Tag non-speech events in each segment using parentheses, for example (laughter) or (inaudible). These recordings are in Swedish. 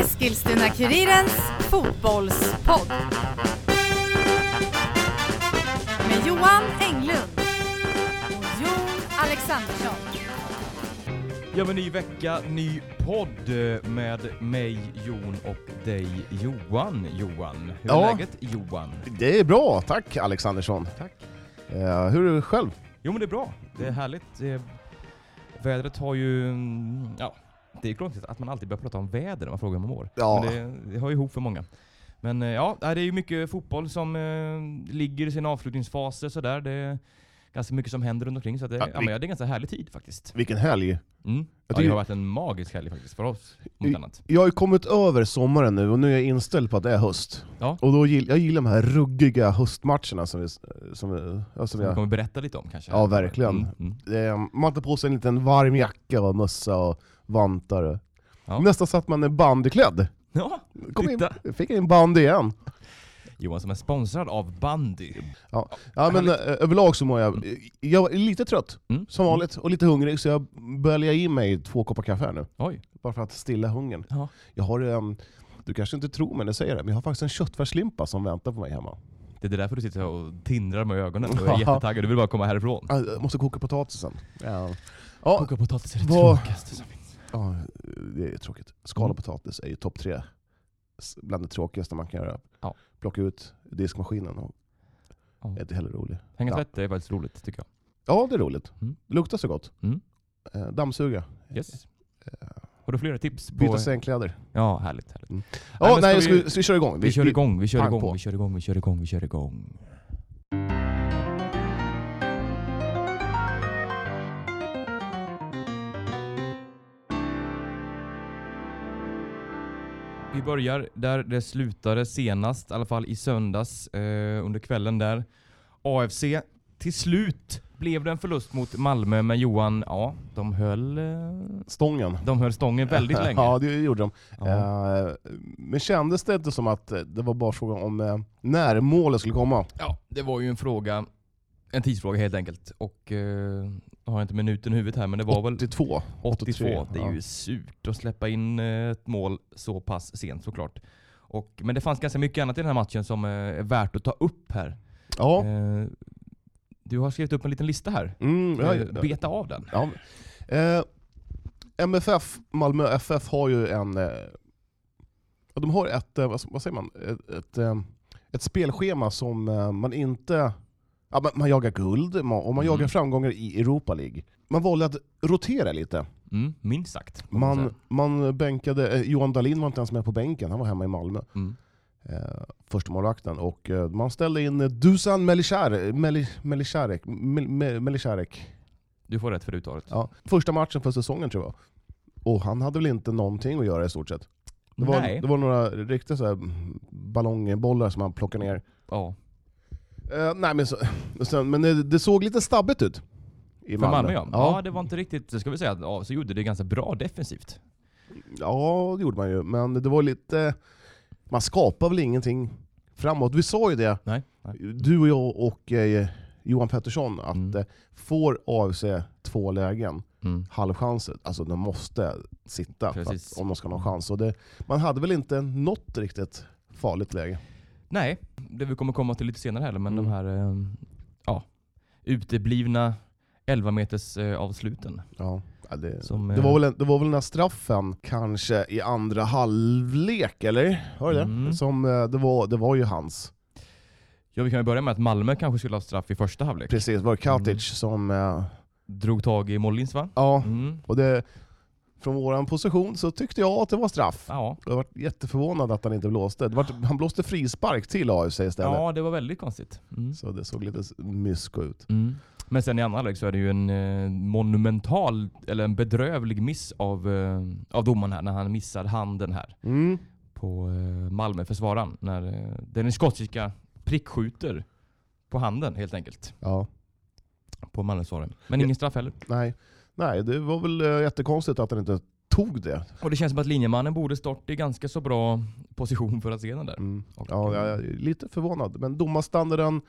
Eskilstuna-Kurirens fotbollspodd. Med Johan Englund och Jon Alexandersson. Ja men ny vecka, ny podd med mig Jon och dig Johan. Johan, hur är Ja. läget Johan? Det är bra, tack Alexandersson. Tack. Eh, hur är du själv? Jo men det är bra, det är härligt. Det- Vädret har ju, mm, ja, det är konstigt att man alltid börjar prata om väder när man frågar hur man mår. Ja. Men det, det har ju ihop för många. Men eh, ja, det är ju mycket fotboll som eh, ligger i sina avslutningsfaser sådär. Det är ganska mycket som händer runt omkring så att det, ja, Ja, men vi- det är en ganska härlig tid faktiskt. Vilken helg. Mm. Ja, det tycker- har varit en magisk helg faktiskt för oss, mot I- annat. Jag har ju kommit över sommaren nu och nu är jag inställd på att det är höst. Ja. Och då gill, jag gillar de här ruggiga höstmatcherna som vi... Som, vi- ja, som Som vi jag, kommer berätta lite om kanske. Ja, verkligen. Mm, mm. eh, man tar på sig en liten varm jacka och mössa och vantar. och- Ja. Nästan så att man är bandyklädd. Ja, Kom in, titta! fick in bandy igen. Johan som är sponsrad av bandy. Ja, men, eh, överlag så mår jag... Jag är lite trött, Mm. som vanligt, och lite hungrig, så jag böljar i mig två koppar kaffe här nu. Oj. Bara för att stilla hungern. Ja. Jag har, em, du kanske inte tror mig när jag säger det, men jag har faktiskt en köttfärslimpa som väntar på mig hemma. Det är därför du sitter och tindrar med ögonen. Du är (laughs) Ja. jättetaggad, du vill bara komma härifrån. Ah, Jag måste koka potatisen. Ja. Ja, Koka potatis är det Vad- tråkigaste som finns. ja, det är tråkigt. Skala Mm. potatis är ju topp tre, S- bland det tråkigaste man kan göra. Ja. Plocka ut diskmaskinen, och Ja. är inte heller rolig. Hänga Ja. tvätt är väldigt roligt tycker Ja, det är roligt. Mm. Det luktar så gott. Mm. Eh, Dammsuga, jag. Yes. Har du flera tips? På... byta sängkläder. Ja, härligt. härligt. Ja, men nej, ska ska vi, vi- ska vi köra igång? Vi, kör igång, vi kör pang igång, på. vi kör igång, vi kör igång, vi kör igång. Vi börjar där det slutade senast, i alla fall i söndags eh, under kvällen där. AFC, till slut blev det en förlust mot Malmö, men Johan, ja, de höll, eh, Stången. de höll stången (laughs) väldigt länge. ja, det gjorde de. Ja. Eh, Men kändes det inte som att eh, det var bara frågan om eh, när målet skulle komma? Ja, det var ju en fråga. En tidsfråga helt enkelt. Och eh, jag har inte minuten i huvudet här, men det var väl 82. 82. 83, det är ja. ju surt att släppa in eh, ett mål så pass sent såklart. Och, men det fanns ganska mycket annat i den här matchen som eh, är värt att ta upp här. Ja. Eh, du har skrivit upp en liten lista här. Mm, ja, Eh, ja. Beta av den. ja. Eh, MFF, Malmö FF har ju en... eh, ja, De har ett, eh, vad vad säger man, ett, ett, eh, ett spelschema som eh, man inte... Ja, man, man jagar guld man, och man Mm. jagar framgångar i Europa League. Man valde att rotera lite. Mm, minst sagt. får man Man, säga. man bänkade, eh, Johan Dahlin var inte ens med på bänken, han var hemma i Malmö. Mm. eh, första målvakten och eh, man ställde in eh, Dusan Melisarek. Melisarek. Mel- Me- Melisarek. Du får rätt för uttalet. Ja. Första matchen för säsongen tror jag. Och han hade väl inte någonting att göra i stort sett. Det var, Nej. det var några riktiga så här ballongbollar som han plockade ner. Ja. Eh, nej, men så, och sen, men det, det såg lite stabbigt ut. I För Malmö ja. ja. Ja. det var inte riktigt, det ska vi säga, ja, så gjorde det ganska bra defensivt. ja, det gjorde man ju. Men det var lite... Man skapar väl ingenting framåt. Vi sa ju det Nej. nej. du och jag och eh, Johan Pettersson att Mm. eh, får AFC två lägen, Mm. halvchanser, alltså de måste sitta för Precis. att, om de ska ha någon chans. Och det, man hade väl inte något riktigt farligt läge. Nej, det vi kommer komma till lite senare här, men Mm. de här eh, ja, uteblivna 11 meters eh, avsluten. Ja, ja, det, Som, det, var väl, en- det var väl den här straffen, kanske i andra halvlek, eller? Var det Mm. det? Som, eh, det, var, det var ju hans. eh, Ja, vi kan ju börja med att Malmö kanske skulle ha straff i första halvlek. Precis, det var Katic Mm. som... eh, Drog tag i Mollins va? Ja, Mm. och det, från vår position så tyckte jag att det var straff. Ja. Jag var jätteförvånad att han inte blåste. Det var, han blåste frispark till AFC istället. ja, det var väldigt konstigt. Mm. Så det såg lite s- mysko ut. Mm. Men sen i andra halvlek så är det ju en eh, monumental, eller en bedrövlig miss av, eh, av domaren här när han missar handen här Mm. på eh, Malmöförsvararen. När eh, den skotska prickskjuter på handen helt enkelt. Ja. På Malmöförsvararen. Men ingen straff heller. Nej. Nej, det var väl eh, jättekonstigt att han inte tog det. Och det känns som att linjemannen borde stått i ganska så bra position för att se den där. Mm. Och, Ja, jag är lite förvånad. Men domarstandarden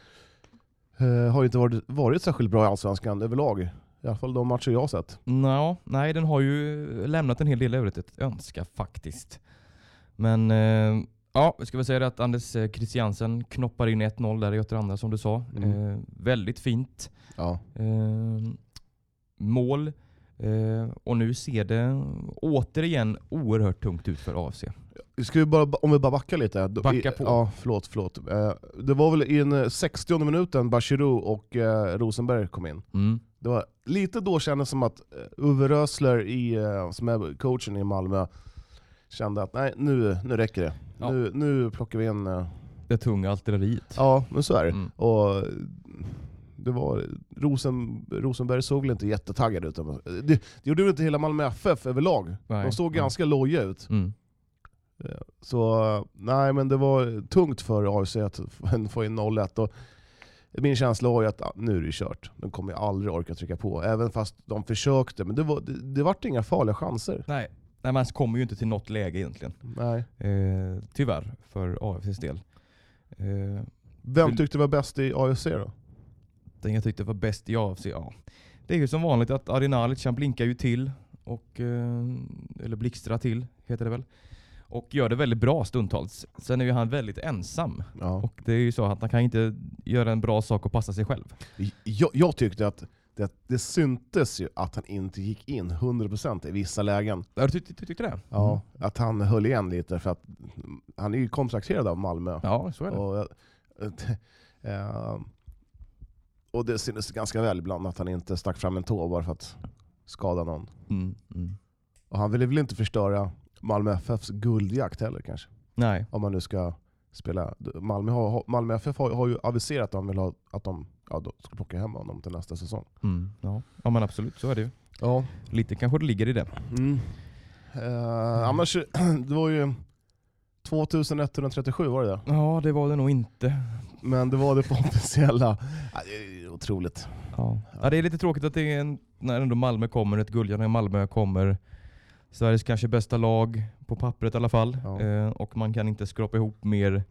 eh, har ju inte varit, varit särskilt bra i Allsvenskan överlag. I alla fall de matcher jag har sett. Nå, nej, den har ju lämnat en hel del övrigt att önska faktiskt. Men eh, ja, vi ska väl säga det att Anders eh, Christiansen knoppar in 1-0 där i Göteborg som du sa. Mm. Eh, väldigt fint. Ja. eh, mål. Eh, och nu ser det återigen oerhört tungt ut för AFC. Ska vi bara, om vi bara backar lite. Då- Backa i- på. Ja, förlåt, förlåt. Eh, Det var väl i den 60 minuten Bachirou och eh, Rosenberg kom in. Mm. Det var lite då kändes som att eh, Uwe Rösler, i, eh, som är coachen i Malmö, kände att nej, nu, nu räcker det. Ja. Nu, nu plockar vi in... eh, Det tunga artilleriet. Ja, men så är det. Mm. Och eh, det var, Rosen, Rosenberg såg väl inte jättetaggad ut. men Det, det gjorde väl inte hela Malmö FF överlag. Nej. De såg Nej. ganska loja ut. Mm. Så eh, nej, men det var tungt för AFC att (laughs) f- få in 0-1. Och min känsla var ju att ah, nu är det kört. De kommer ju aldrig orka trycka på. Även fast de försökte. Men det, var, det, det vart inga farliga chanser. Nej. Nej, man kommer ju inte till något läge egentligen. Nej. Eh, tyvärr, för AFCs del. Eh, Vem Vill- tyckte var bäst i AFC då? den jag tyckte var bäst i AFC, ja. Det är ju som vanligt att Arinalic, han blinkar ju till. Och, eh, eller blixtrar till, heter det väl. Och gör det väldigt bra stundtals. Sen är ju han väldigt ensam. Ja. Och det är ju så att han kan inte göra en bra sak och passa sig själv. Jag, jag tyckte att det, det syntes ju att han inte gick in 100% i vissa lägen. Ja, Du tyckte, du tyckte det? Mm. Ja. Att han höll igen lite för att mm, han är ju kontrakterad av Malmö. Ja, så är det. Och, jag- (laughs) ett- ehm, och det synes ganska väl ibland att han inte stack fram en tå bara för att skada någon. Mm, mm. Och han ville väl inte förstöra Malmö FFs guldjakt heller kanske. Nej. Om man nu ska spela. Malmö, har, har- Malmö FF har, har ju aviserat att de vill ha, att de, ja, de ska plocka hem honom till nästa säsong. Mm, ja. ja men absolut, så är det ju. Ja. Lite kanske det ligger i det. Mm. Eh, annars, (clears throat) det var ju 2137 var det där. Ja, det var det nog inte. Men det var det på (laughs) officiella. Ja, det är ju otroligt. Ja. Ja, det är lite tråkigt att det är en, när ändå Malmö kommer, ett guldjärn när Malmö kommer. Sveriges kanske bästa lag, på pappret i alla fall. Ja. Eh, och man kan inte skrapa ihop mer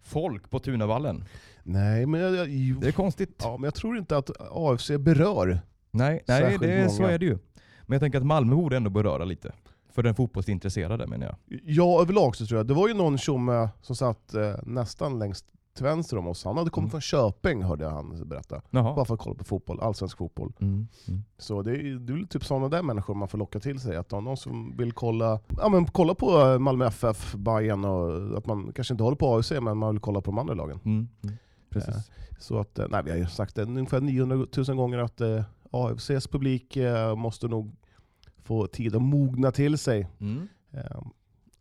folk på Tunavallen. Nej, men jag, jag, jo. Det är konstigt. Ja, men jag tror inte att AFC berör. Nej, nej Särskilt det, så många. är det ju. Men jag tänker att Malmö borde ändå beröra lite. För den fotbollsintresserade menar jag. Ja, överlag så tror jag. Det var ju någon tjomme som satt eh, nästan längst till vänster om oss. Han hade kommit Mm. från Köping hörde jag han berätta. Bara Jaha. för att kolla på fotboll, allsvensk fotboll. Mm, mm. Så det är, ju- det är väl typ sådana där människor man får locka till sig. Att om någon som vill kolla, ja, men kolla på eh, Malmö FF, Bayern och att man kanske inte håller på AFC men man vill kolla på de andra lagen. Mm, mm. Precis. Så att, eh, nej, vi har ju sagt det ungefär 900 000 gånger att eh, AFCs publik eh, måste nog få tid att mogna till sig. Mm. Eh,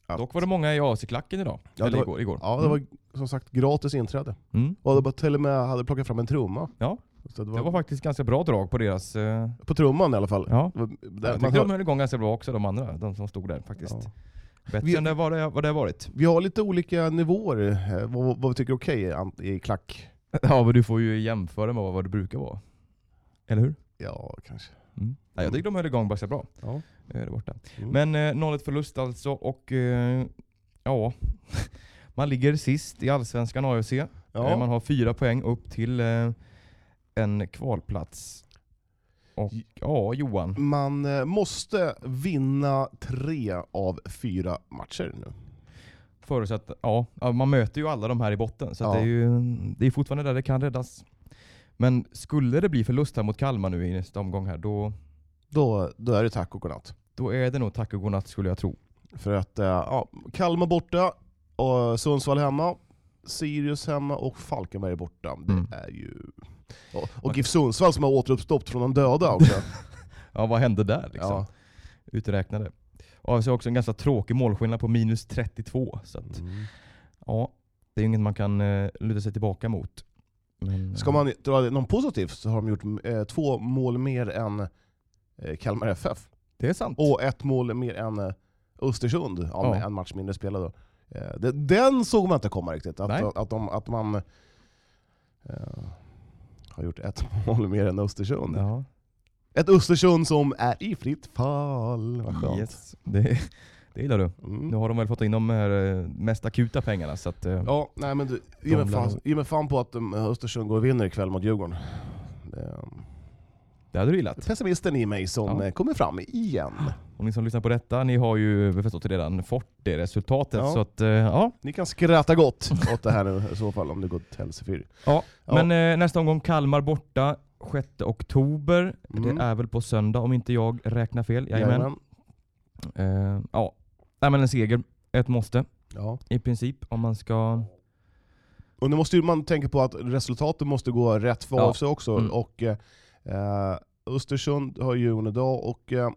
att- Dock var det många i AC-klacken idag. Ja, det Eller var- igår. igår. Ja, det var som sagt gratis inträde. Mm. Mm. Och det var till och med hade plockat fram en trumma. Ja. Så det var, Det var faktiskt ganska bra drag på deras... eh, På trumman i alla fall. Ja. Det var- där- Jag man tyckte hör- de höll igång ganska bra också, de andra. De som stod där faktiskt. Ja. Bättre Vi- än det var det, vad det har varit. Vi har lite olika nivåer, eh, vad, vad vi tycker är okej i ant- i klack. Ja, men du får ju jämföra med vad det brukar vara. Mm. Eller hur? Ja, kanske. Nej, jag tycker de höll igång ganska bra. Ja. eh, Där borta. Mm. Men eh, 0-1 förlust alltså och eh, ja, (laughs) man ligger sist i Allsvenskan AFC. Ja. Eh, Man har fyra poäng upp till eh, en kvalplats. Och J- ja, Johan. Man eh, måste vinna tre av fyra matcher nu. Förutsatt, ja, ja, man möter ju alla de här i botten så att Ja. det är ju det är fortfarande där det kan räddas. Men skulle det bli förlust här mot Kalmar nu i nästa omgång här, då, Då, då är det tack och godnatt. då är det nog tack och godnatt skulle jag tro. För att eh, ja, Kalmar borta, och Sundsvall hemma, Sirius hemma och Falkenberg borta. Det Mm. är ju... Och, och GIF Sundsvall som har återuppstått från de döda också. (laughs) Ja, vad hände där liksom? Ja. Uträknade. AFC har också en ganska tråkig målskillnad på minus 32, så Mm. att, ja, det är ju inget man kan eh, luta sig tillbaka mot. Men, eh, Ska man dra någon positiv så har de gjort eh, två mål mer än eh, Kalmar FF. det är sant. Och ett mål mer än eh, Östersund, ja, Ja. med en match mindre spelad. då. Eh, det- den såg man inte komma riktigt, att, Nej. att, att, de, att man eh, har gjort ett (laughs) mål mer än Östersund. ja, Ett Östersund som är i fritt fall. Vad skönt. yes. det, det gillar du. Mm. Nu har de väl fått in de här, eh, mest akuta pengarna så att, eh, Ja, nej men du, ge, mig De lär- fan, ge mig fan på att um, Östersund går och vinner ikväll mot Djurgården. Det, Det hade du gillat. Eh, Pessimisten i mig som Ja. eh, kommer fram igen. Och ni som lyssnar på detta, ni har ju förstått redan fått det resultatet. Ja. Så att, eh, ja. Ni kan skratta gott åt det här nu i så fall om det går till helsike för er. Ja. Ja. Men eh, nästa omgång Kalmar borta 6 oktober. Mm. Det är väl på söndag om inte jag räknar fel. Jajamän. Jajamän. Eh, ja. Nej men en seger. Ett måste Ja. i princip om man ska... Och nu måste ju man tänka på att resultaten måste gå rätt för Ja. AFC också. Mm. Och, eh, eh, Östersund har ju en idag och eh,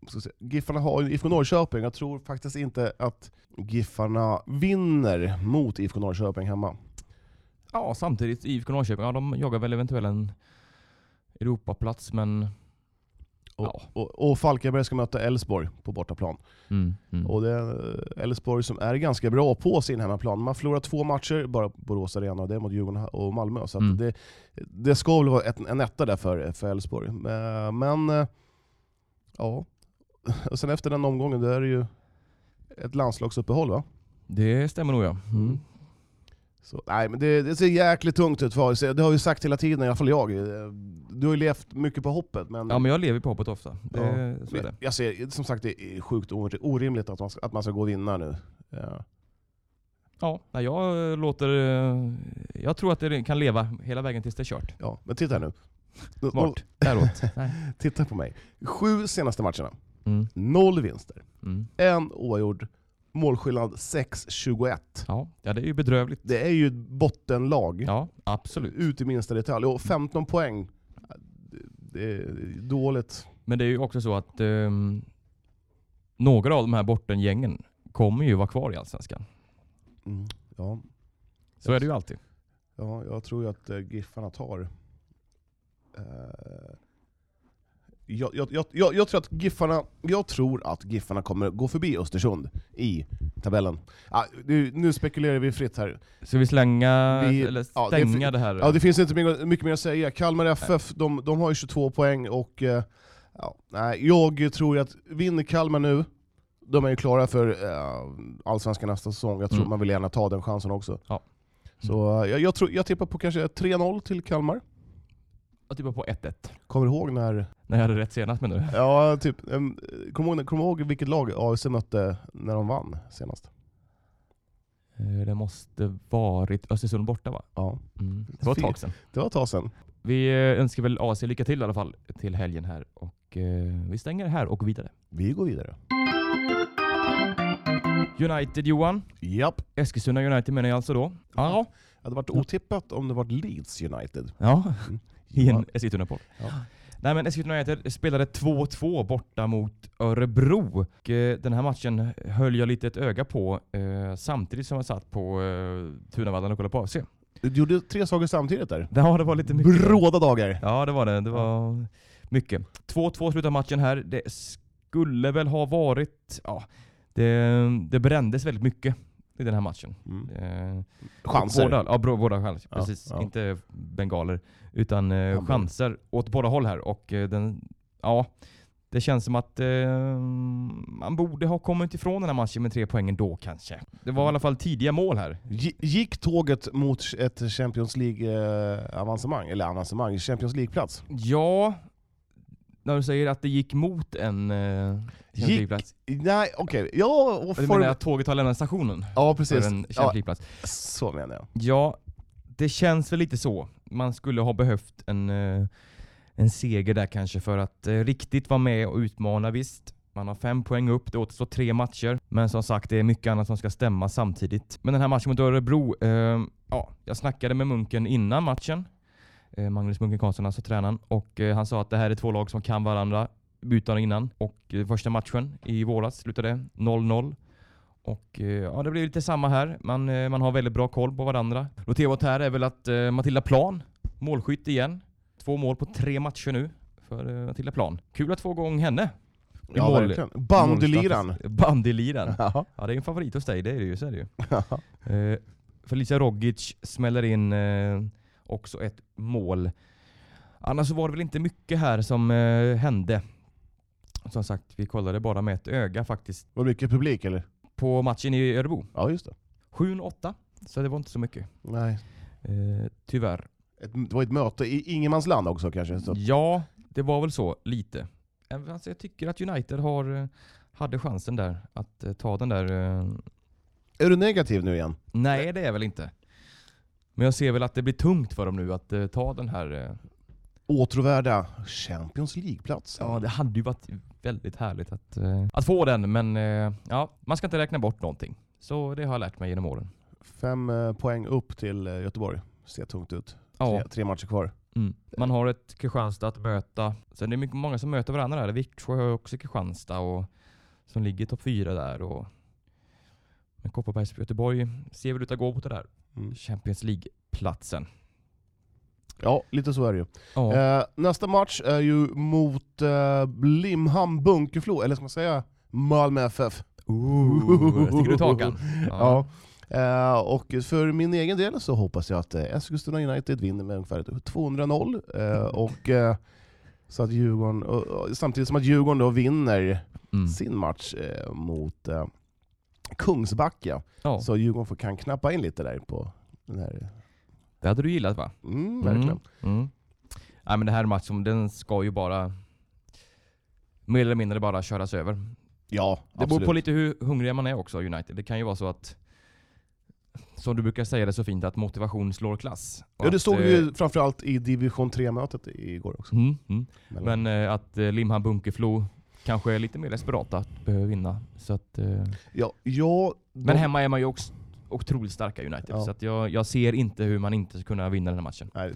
vad ska jag säga, Giffarna har ju IFK Norrköping. Jag tror faktiskt inte att Giffarna vinner mot IFK Norrköping hemma. Ja, samtidigt IFK Norrköping, ja de jagar väl eventuellt en Europaplats men... Och, Ja. och, och Falkenberg ska möta Elfsborg på bortaplan. Mm, mm. Och det är eh, Elfsborg som är ganska bra på sin hemmaplan. Man förlorar två matcher, bara på Borås Arena, och det är mot Djurgården och Malmö. Så att Mm. det, det ska väl vara ett, en etta där för för Elfsborg. Eh, Men, eh, ja. Och sen efter den omgången, då är det ju ett landslagsuppehåll va? Det stämmer nog ja. Mm. Så, nej men det, det ser jäkligt tungt ut för AIC. Det har vi sagt hela tiden, i alla fall jag. Eh, Du har ju levt mycket på hoppet, men... Ja men jag lever på hoppet ofta. Det, så är det. Jag ser, som sagt, det är sjukt or- orimligt att man ska, att man ska gå och vinna nu. Eh, Ja, nej, jag eh, låter... eh, Jag tror att det kan leva hela vägen tills det är kört. Ja, men titta här nu. Smart. (laughs) Däråt. Nej. Titta på mig. Sju senaste matcherna. Mm, Noll vinster. mm. En oavgjord. Målskillnad 6-21. Ja, ja, det är ju bedrövligt. Det är ju ett bottenlag. Ja, absolut. Ut i minsta detalj. Och 15 poäng. Det är dåligt. Men det är ju också så att ehm, några av de här bortengängen kommer ju vara kvar i Allsvenskan. Mm. Ja. Så är det ju alltid. ja, jag tror ju att eh, Giffarna tar... eh, jag, jag, jag, jag, jag, tror att Giffarna, jag tror att Giffarna kommer gå förbi Östersund i tabellen. Ah, nu, nu spekulerar vi fritt här. Ska vi slänga, Vi- eller ja, det är för- stänga det, här? Ja, det finns inte mycket, mycket mer att säga. Kalmar FF, de, de har ju 22 poäng och eh, ja, nej, jag tror ju att vinner Kalmar nu, de är ju klara för eh, Allsvenskan nästa säsong. Jag tror Mm. man vill gärna ta den chansen också. Ja. Så eh, jag, jag, tror, jag tippar på kanske 3-0 till Kalmar. Jag tippar typ på 1-1. Kommer du ihåg när... När jag hade rätt senast menar du? Ja, typ. em, Kommer du ihåg, kommer du ihåg vilket lag AFC mötte när de vann senast? Eh, Det måste varit Östersund borta va? Ja, Mm. Det var ett tag sedan. det var ett tag sedan. Vi eh, önskar väl AC lycka till i alla fall till helgen här. Och eh, vi stänger här och går vidare. Vi går vidare. United Johan. Japp. Eskilstuna United menar jag alltså då. Ja. Det hade varit otippat om det varit Leeds United. (laughs) Ja. Mm. I en Eskilstuna-podd. Ja. Nej men Eskilstuna United spelade 2-2 borta mot Örebro. Och, eh, den här matchen höll jag lite ett öga på eh, samtidigt som jag satt på eh, Tunavallen och kollade på AFC. Du gjorde tre saker samtidigt där. Ja, det var lite mycket. Bråda dagar. Ja, det var det. Det var mycket. 2-2 slutar matchen här. Det skulle väl ha varit... Ja, det, det brändes väldigt mycket i den här matchen. Eh, Chanser. Båda, ja, bro- båda chanser. Ja, Precis. ja. Inte bengaler. Utan eh, Hamburg. chanser åt båda håll här. Och eh, den... Ja. Det känns som att eh, man borde ha kommit ifrån den här matchen med tre poäng då kanske. Det var i alla fall tidiga mål här. Gi- Gick tåget mot ett Champions League-avancemang, eller avancemang, Champions League-plats? Ja, när du säger att det gick mot en eh, Gick- flygplats. Nej, okej. Ja, och Du form- menar att tåget har lämnat stationen ja, för precis. en Ja, flygplats? så menar jag. Ja, det känns väl lite så. Man skulle ha behövt en, eh, en seger där kanske för att eh, riktigt vara med och utmana. Visst, man har fem poäng upp, det återstår tre matcher. Men som sagt, det är mycket annat som ska stämma samtidigt. Men den här matchen mot Örebro, eh, ja, jag snackade med Munken innan matchen. Eh, Magnus Munken Karlsson, alltså tränaren. Och eh, han sa att det här är två lag som kan varandra utan och innan. Och eh, första matchen i våras slutade 0-0. Och eh, ja, det blir lite samma här. Man, eh, man har väldigt bra koll på varandra. Noterbart här är väl att eh, Matilda Plan, målskytt igen. Två mål på tre matcher nu för eh, Matilda Plan. Kul att få igång henne. I Ja, mål- verkligen. Bandyliran. Målstatistik- Bandyliran. Ja. Ja, det är en favorit hos dig, det är det ju. Så är det ju. Ja. Eh, Felicia Rogic smäller in eh, också ett mål. Annars så var det väl inte mycket här som eh, hände. Som sagt, vi kollade bara med ett öga faktiskt Var det mycket publik eller? på matchen i Örebro. Ja, just det. 7-8, så det var inte så mycket. Nej. Eh, tyvärr. Ett, det var ett möte i ingenmansland också kanske. Så. Ja, Det var väl så, lite. Även- Alltså, jag tycker att United har, eh, hade chansen där att eh, ta den där... eh, Är du negativ nu igen? Nej, det är väl inte. Men jag ser väl att det blir tungt för dem nu att eh, ta den här... eh, Åtråvärda Champions League-platsen. Ja, det hade ju varit väldigt härligt att, eh, att få den, men eh, ja, man ska inte räkna bort någonting. Så det har jag lärt mig genom åren. Fem eh, poäng upp till eh, Göteborg. Ser tungt ut. Ja, Tre, tre matcher kvar. mm. Man har ett Kristianstad att möta. Sen är det mycket, många som möter varandra där. Viksjö har ju också Kristianstad och, som ligger i topp fyra där. Och, men Kopparbergs Göteborg ser väl ut att gå mot det där Mm. Champions League-platsen. Ja, lite så är det ju. Ja, (laughs) Eh, nästa match är ju mot eh, Limhamn Bunkeflo, eller ska man säga Malmö FF? Ooh, sticker du ut hakan? Ja. Eh, och för min egen del så hoppas jag att eh, Eskilstuna United vinner med ungefär 200-0. Eh, och, eh, så att Djurgården, och, och, samtidigt som att Djurgården då vinner Mm. sin match eh, mot eh, Kungsbacka. ja. Så Djurgården får, kan knappa in lite där på den här... Det hade du gillat va? Mm, verkligen. Mm. Mm. Nej men det här matchen, den ska ju bara mer eller mindre bara köras över. Ja, Det beror på lite hur hungriga man är också United. Det kan ju vara så att som du brukar säga det så fint att motivation slår klass. Och Ja, det att, såg eh, vi ju framförallt i division 3-mötet igår också. Mm, mm. Mellan- Men eh, att eh, Limhamn Bunkeflo kanske är lite mer desperata att behöva vinna. Så att, eh, ja, ja, de, men hemma är man ju också otroligt starka United. Ja. Så att jag, jag ser inte hur man inte ska kunna vinna den här matchen. nej,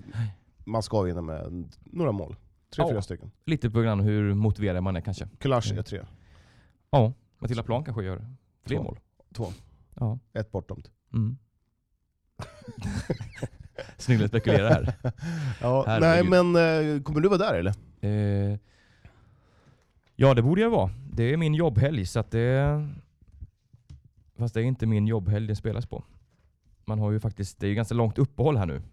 man ska vinna med några mål. Tre, Ja. Mm. fyra stycken. Lite på grann hur motiverad man är kanske. Kulasch är tre. Ja, Matilda Plan kanske gör fler Två. mål. Två. Ja. Ett bortdömt. Mm. (laughs) Snyggt att spekulera här. Ja, nej Herregud. men eh, kommer du vara där eller? Eh, ja, det borde jag vara. Det är min jobbhelg, så att det... Fast det är inte min jobbhelg det spelas på. Man har ju faktiskt... Det är ju ganska långt uppehåll här nu. Det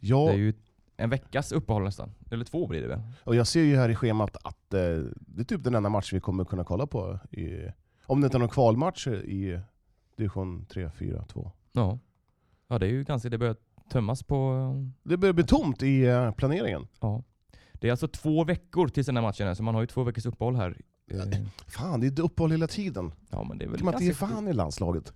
Ja, är ju en veckas uppehåll nästan. Eller två blir det väl? och jag ser ju här i schemat att eh, det är typ den enda match vi kommer kunna kolla på. I, om det inte är någon kvalmatch i division 3, 4, 2. Ja. Ja, det är ju ganska... Det börjar tömmas på... Det börjar bli tomt i eh, planeringen. Ja. Det är alltså två veckor tills den här matchen är, så man har ju två veckors uppehåll här. Eh, Fan, det är ett uppehåll hela tiden. Ja, men Äh. det är väl Kan man inte ge ganska- fan i landslaget?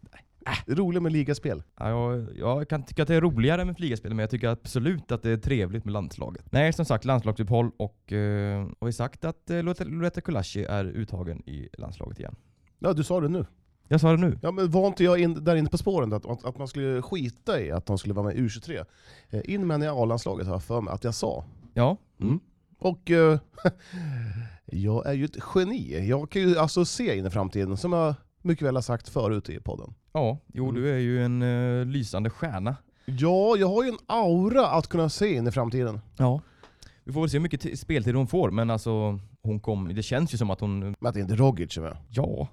Det är roligt med ligaspel. Ja, jag, jag kan tycka att det är roligare med flygaspel, men jag tycker absolut att det är trevligt med landslaget. Nej, som sagt, landslagsuppehåll och eh, har vi sagt att eh, Loretta- Loretta Kulashi är uttagen i landslaget igen? Ja, du sa det nu. Jag sa det nu. Ja, men var inte jag in, där inne på spåren då, att, att man skulle skita i att de skulle vara med i U23? Eh, In med henne i A-landslaget har jag för mig att jag sa. Ja. Mm. Och eh, (laughs) jag är ju ett geni. Jag kan ju alltså se in i framtiden, som jag mycket väl har sagt förut i podden. Ja, jo du är ju en eh, lysande stjärna. Ja, jag har ju en aura att kunna se in i framtiden. Ja. Vi får väl se hur mycket t- speltid hon får, men alltså hon kom, det känns ju som att hon, Men att det inte är Rogic är med. ja.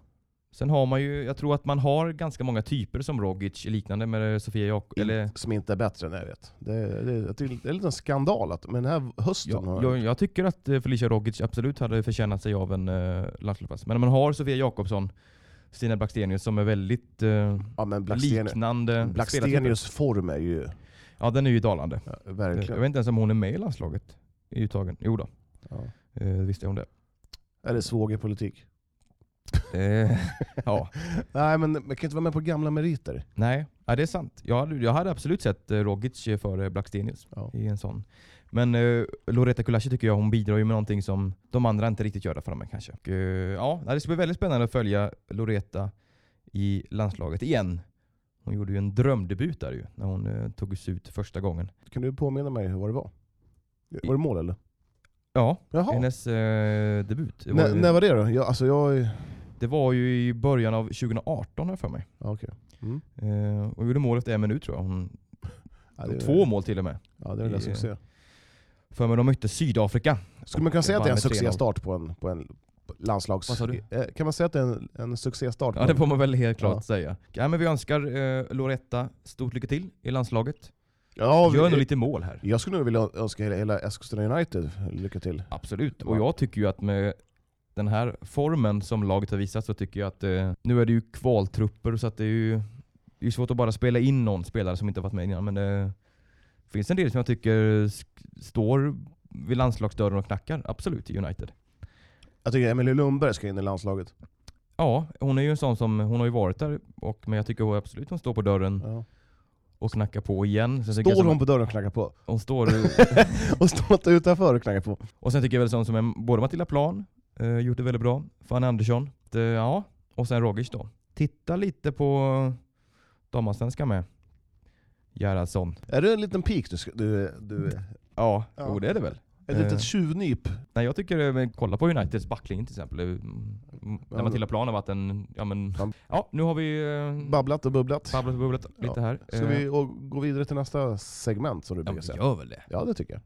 Sen har man ju, jag tror att man har ganska många typer som Rogic, liknande med Sofia Jakob, eller Som inte är bättre än jag vet. Det, det, jag tycker det är en liten skandal att men den här hösten Ja, har... jag, jag tycker att eh, Felicia Rogic absolut hade förtjänat sig av en eh, landslagsplats. Men när man har Sofia Jakobsson, Stina Blackstenius som är väldigt eh, ja men Blackstenius, Mm. liknande spelartyper. Blackstenius form är ju... Ja, den är ju dalande. Ja, Jag verkligen. vet inte ens om hon är med i landslaget i uttagen. Jo då. Ja. Eh, visste jag om det. Är det svågerpolitik? Eh, (laughs) ja, (laughs) Nej, men man kan inte vara med på gamla meriter. nej. Ja, det är sant. Jag hade, jag hade absolut sett eh, Rogic eh, före Blackstenius Ja. i en sån. Men eh, Loretta Kulashi tycker jag hon bidrar ju med någonting som de andra inte riktigt gör där framme kanske. Och, eh, ja, nej, det ska bli väldigt spännande att följa Loretta i landslaget igen. Hon gjorde ju en drömdebut där ju, när hon eh, togs ut första gången. Kan du påminna mig vad det var? Var det mål eller? Ja, Jaha. hennes eh, debut. Det var, När- ju, när var det då? Jag, alltså jag... är- det var ju i början av 2018 har jag för mig. Ja, okej. Mm. Eh, hon gjorde mål efter en minut tror jag. Hon, Ja, det är- två mål till och med. Ja, det är väl en i- succé. För mig de mötte Sydafrika. Skulle man kunna säga att det är en vann med 3-0. succéstart på en, på en på landslags... Vad sa du? Eh, Kan man säga att det är en, en succéstart? Ja det får man väl helt klart Ja. säga. Ja, men vi önskar eh, Loretta stort lycka till i landslaget. ja, Gör nog vi, lite mål här. jag skulle nog vilja önska hela, hela Eskilstuna United lycka till. Absolut. Och jag tycker ju att med den här formen som laget har visat så tycker jag att eh, nu är det ju kvaltrupper så att det är ju det är svårt att bara spela eh, in någon spelare som inte har varit med innan. Men det finns en del som jag tycker sk- står vid landslagsdörren och knackar. Absolut, i United. Jag tycker Emily Lundberg ska in i landslaget. Ja, hon är ju en sån som, hon har ju varit där, och, men jag tycker hon absolut hon står på dörren Ja. och knackar på igen. Sen tycker jag Står som- hon på dörren och knackar på? (laughs) Hon står Och står inte utanför och knackar på? Och sen tycker jag väl sånt som en- både Matilda Plan, eh, gjort det väldigt bra, Fanny Andersson, det, ja, och sen Rogic då. Titta lite på damallsvenskan med. Gerhardsson. Är det en liten pik du... ska- du, du Eh. Ja, Ja. Jo, det är det väl. ett Eh. litet tjuvnyp? Nej, jag tycker, eh, men kolla på Uniteds backlinje till exempel. Mm, Där Ja, Matilda Plan har varit en, ja men, Ja. ja nu har vi eh, Babblat och bubblat. babblat och bubblat lite Ja. här. Ska Eh, vi och gå vidare till nästa segment som du Ja, brukar men säga? gör väl det. Ja, det tycker jag.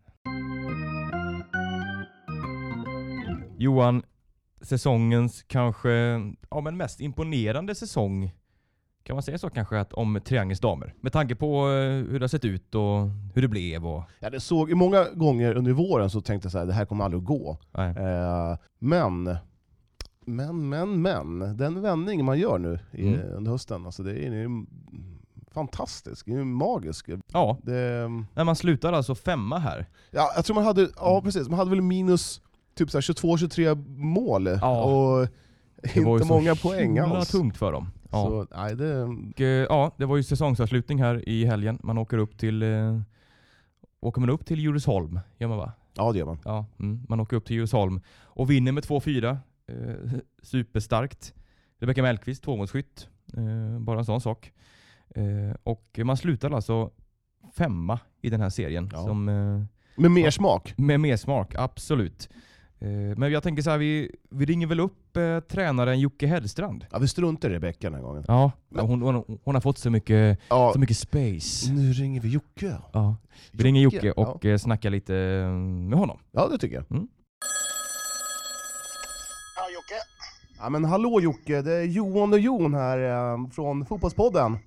Johan, säsongens kanske ja, men mest imponerande säsong, kan man säga så kanske, att om Triangelns damer? Med tanke på eh, hur det har sett ut och hur det blev och... Ja, det såg, många gånger under våren så tänkte jag så här, det här kommer aldrig att gå. Nej. Eh, men, men, men, men. Den vändning man gör nu i, Mm. under hösten, alltså det är ju mm, fantastisk, det är ju magisk. Ja, Det, när man slutar alltså femma här. ja, jag tror man hade, Mm. ja precis, man hade väl minus typ 22-23 mål Ja. och Det var ju inte så många poäng himla alls. tungt för dem. Ja. Så, nej, det, Och, eh, ja, det var ju säsongsavslutning här i helgen. Man åker upp till... Eh, åker man upp till Djursholm, gör man va? ja det gör man. Ja, mm. Man åker upp till Djursholm och vinner med 2-4. Eh, superstarkt. Rebecka Mellqvist, tvåmålsskytt. Eh, bara en sån sak. Eh, och man slutar alltså femma i den här serien. Ja. Som, eh, Med mer Ja. smak. med mer smak, absolut. Eh, men jag tänker så här, vi, vi ringer väl upp eh, tränaren Jocke Hedstrand. Ja, vi struntar i Rebecka den här gången. Ja, hon, hon, hon har fått så mycket, Ja, så mycket space. nu ringer vi Jocke. Ja. Vi ringer Mm. Jocke och ja. snackar lite eh, med honom. Ja, det tycker jag. Ja, Jocke. Ja, men hallå Jocke, det är Johan och Jon här eh, från Fotbollspodden.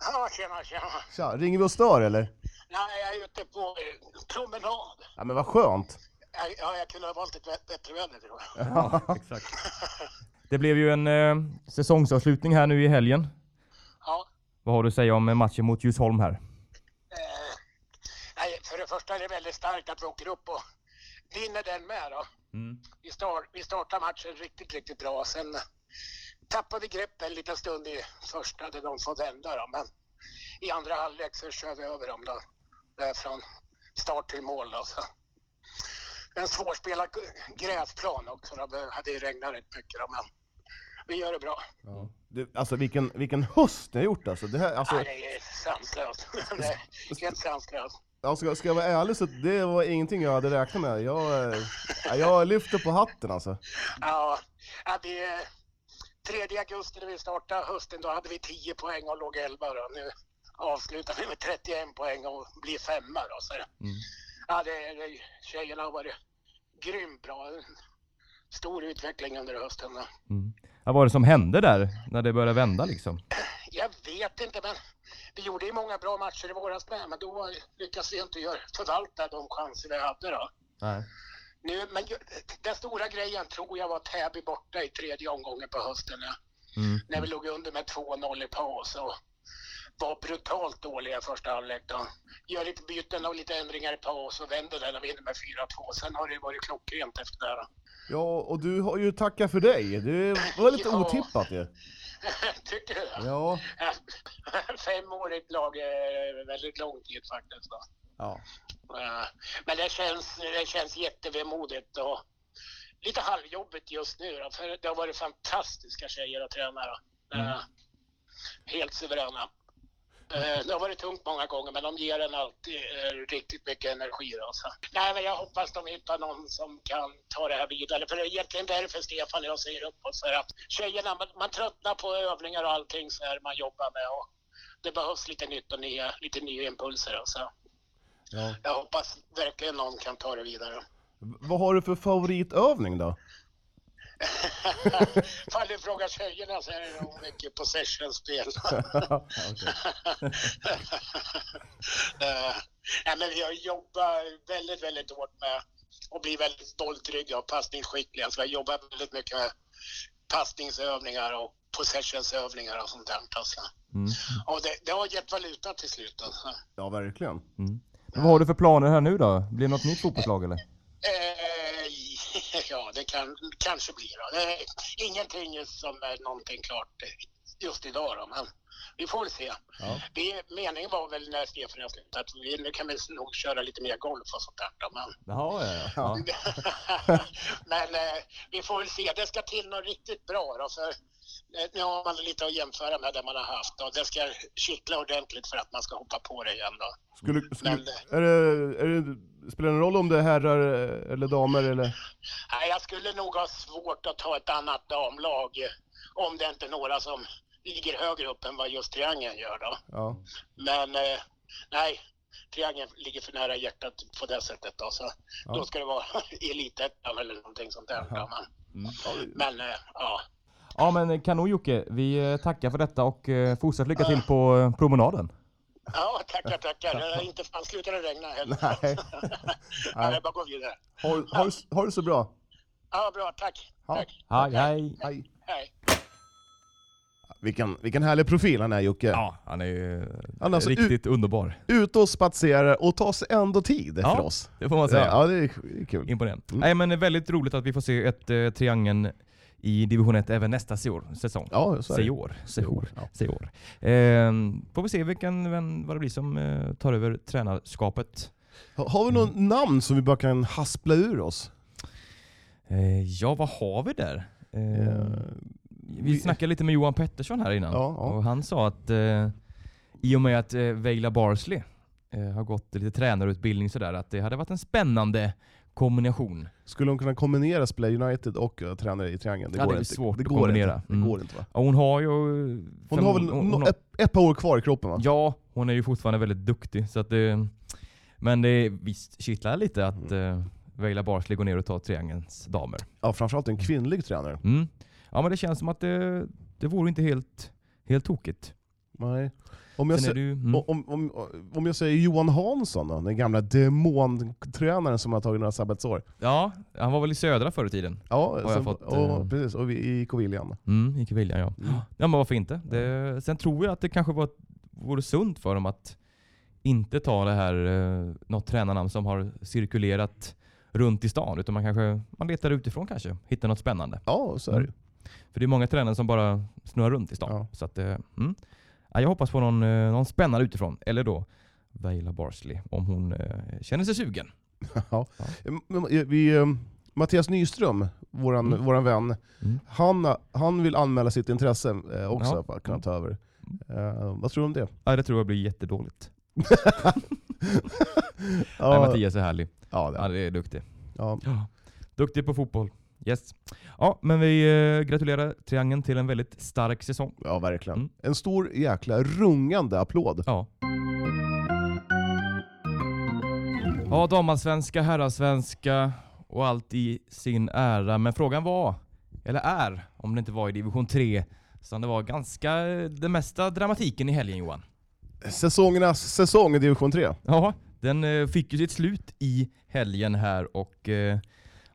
Ja, tjena, tjena. Tja, ringer vi och stör eller? Nej, jag är ute på eh, promenad. Ja men vad skönt. Jag, ja, jag kunde ha valt ett vä- bättre väder, tror jag. Ja, exakt. Det blev ju en eh, säsongsavslutning här nu i helgen. Ja. Vad har du att säga om eh, matchen mot Djursholm här? Eh, nej, för det första är det väldigt starkt att vi åker upp och vinner den med. Då. Mm. Vi, star, vi startar matchen riktigt, riktigt bra. Sen tappade vi grepp en liten stund i första, där de får vända. Då. Men i andra halvlek så kör vi över dem då. Där från start till mål. Då. Så. En svårspelad gräsplan också. Då. Det hade ju regnat rätt mycket. Då. Men vi gör det bra. Du, alltså vilken, vilken höst ni har gjort alltså. Det här, alltså, Nej, det är sanslöst. (laughs) det är helt sanslöst. alltså ska jag vara ärlig så det var ingenting jag hade räknat med. Jag, eh, jag lyfter på hatten alltså. Ja, ja, det är 3 augusti när vi startade hösten, då hade vi 10 poäng och låg 11. Då. Nu avslutar vi med 31 poäng och blir femma. Då, så. Mm. Ja, det, det, tjejerna har varit grymt bra. En Stor utveckling under hösten. Då. Mm. Vad var det som hände där när det började vända liksom? Jag vet inte, men vi gjorde ju många bra matcher i våras med, men då lyckades vi inte göra, förvalta de chanser vi hade. Då. Nej. Nu, men ju- den stora grejen tror jag var Täby borta i tredje omgången på hösten. ja. Mm. När vi låg under med 2-0 i paus och var brutalt dåliga i första halvlek. då. Gör lite byten och lite ändringar i paus och vänder den och vinner med 4-2. Sen har det varit klockrent efter det. här. Ja, och du har ju tacka för dig. Det var lite Ja. otippat ju. (laughs) Tycker du? det? Ja. (laughs) Fem år i ett lag är väldigt lång tid faktiskt. Då. ja. Eh, Men det känns, det känns jättevemodigt och lite halvjobbigt just nu då, för det har varit fantastiska tjejer och tränare. Eh, Helt suveräna. Eh, Det har varit tungt många gånger, men de ger en alltid eh, riktigt mycket energi. Då, så. Nej, men jag hoppas de hittar någon som kan ta det här vidare. För det är egentligen därför Stefan och jag säger upp oss. För att tjejerna, man, man tröttnar på övningar och allting så här man jobbar med. Och det behövs lite nytt och nya, lite nya impulser. Då, så. ja. Jag hoppas verkligen någon kan ta det vidare. V- Vad har du för favoritövning då? (laughs) Ifall du frågar tjejerna så är det nog mycket possession-spel. (laughs) Eh, Nej, men jag jobbar väldigt, väldigt hårt med och blir väldigt stoltrygga och passningsskickliga. Så jag jobbar väldigt mycket med passningsövningar och possessionsövningar och sånt där. Alltså. Mm. Och det, det har gett valuta till slut. Alltså. Ja, verkligen. Vad har du för planer här nu då? Blir det något nytt fotbollslag eller? Eh, (laughs) ja, det kan, kanske blir då. Det är ingenting som är någonting klart just idag då, men vi får väl se. Ja. Vi, meningen var väl när Stefan och jag slutade att vi, nu kan vi nog köra lite mer golf och sånt där då, men, Jaha, ja. ja. men eh, vi får väl se. Det ska till något riktigt bra då, för eh, nu har man lite att jämföra med det man har haft och det ska kittla ordentligt för att man ska hoppa på det igen då. Skulle, skulle, Men, eh, är det, är det, spelar det någon roll om det är herrar eh, eller damer (laughs) eller? Nej, jag skulle nog ha svårt att ta ett annat damlag eh, om det inte är några som ligger högre upp än vad just triangeln gör då. Ja. Men eh, nej, triangeln ligger för nära hjärtat på det sättet då, så Ja. då ska det vara (laughs) elitettan eller någonting sånt där. Ja. Ja. Mm. Men, men eh, ja, ja men kanon Jocke. Vi eh, tackar för detta och eh, fortsätt lycka till på eh, promenaden. ja tackar, tackar. Det har inte fan slutat att regna heller. Nej. Nej, jag bara går vidare. Har, har, du- har du så bra. Ja, bra, tack. Ja. tack. Hej, hej. Hej. Hej. Vilken, vilken härlig profil han är Jocke. Ja, han är ju Han är alltså riktigt underbar. Ute och spatserar och tar sig ändå tid Ja, för oss. Det får man Ja, säga. ja, Mm. det är det är kul. Imponerande. Nej men det är väldigt roligt att vi får se ett eh, triangeln i division 1 även nästa seår- säsong. Ja, så är det. Seår. Seår. Ja. Seår. Ehm, får vi se vilken, vem, vad det blir som eh, tar över tränarskapet. Ha- Har vi något Mm. namn som vi bara kan haspla ur oss? Eh, ja, vad har vi där? Ehm, Eh, vi vi- snackade lite med Johan Pettersson här innan Ja, ja. och han sa att eh, i och med att eh, Veila Barsley eh, har gått lite tränarutbildning sådär, att det hade varit en spännande kombination. Skulle de kunna kombinera spela United och uh, tränare i triangeln? Det Ja, går det är inte. svårt det att går kombinera. Inte. Det Mm. går inte va? Ja, hon har ju... eh, Hon har väl no- ett, ett par år kvar i kroppen va? Ja, hon är ju fortfarande väldigt duktig. Så att det, men det är visst kittlar lite att mm. Veila Barsley går ner och tar triangelns damer. Ja, framförallt en kvinnlig tränare. Mm. Ja men det känns som att det, det vore inte helt, helt tokigt. Nej. Om jag, Sen är sä- du, mm. om, om, om jag säger Johan Hansson då, den gamla demontränaren som har tagit några sabbatsår. Ja, han var väl i södra förr i tiden? Ja, jag sen, fått, och, eh, precis. Och vi, i IK William. Mm, gick i viljan ja. Ja men varför inte? Det, sen tror jag att det kanske var, vore sunt för dem att inte ta det här eh, något tränarnamn som har cirkulerat runt i stan. Utan man kanske man letar utifrån kanske. Hittar något spännande. Ja, så är Mm. det ju. För det är många tränare som bara snurrar runt i stan. Ja. Så att, eh, mm. ja, jag hoppas på någon, eh, någon spännande utifrån. Eller då Vejla Barsley, om hon eh, känner sig sugen. Ja. Men, eh, Vi, eh, Mattias Nyström, våran, våran vän, Mm. han, han vill anmäla sitt intresse eh, också Ja. Mm. för att kunna ta över. Eh, vad tror du om det? Ja, det tror jag blir jättedåligt. Nej, Ja, Mattias är härlig. ja, det- Han är duktig. ja. Duktig på fotboll. Yes. Ja, men vi eh, gratulerar Triangeln till en väldigt stark säsong. ja, verkligen. Mm. En stor jäkla rungande applåd. Ja. Ja, damallsvenska, herrallsvenska och allt i sin ära. Men frågan var, eller är, om det inte var i division 3, som det var ganska, eh, det mesta dramatiken i helgen Johan. Säsongernas säsong i division 3. Ja, den eh, fick ju sitt slut i helgen här och eh,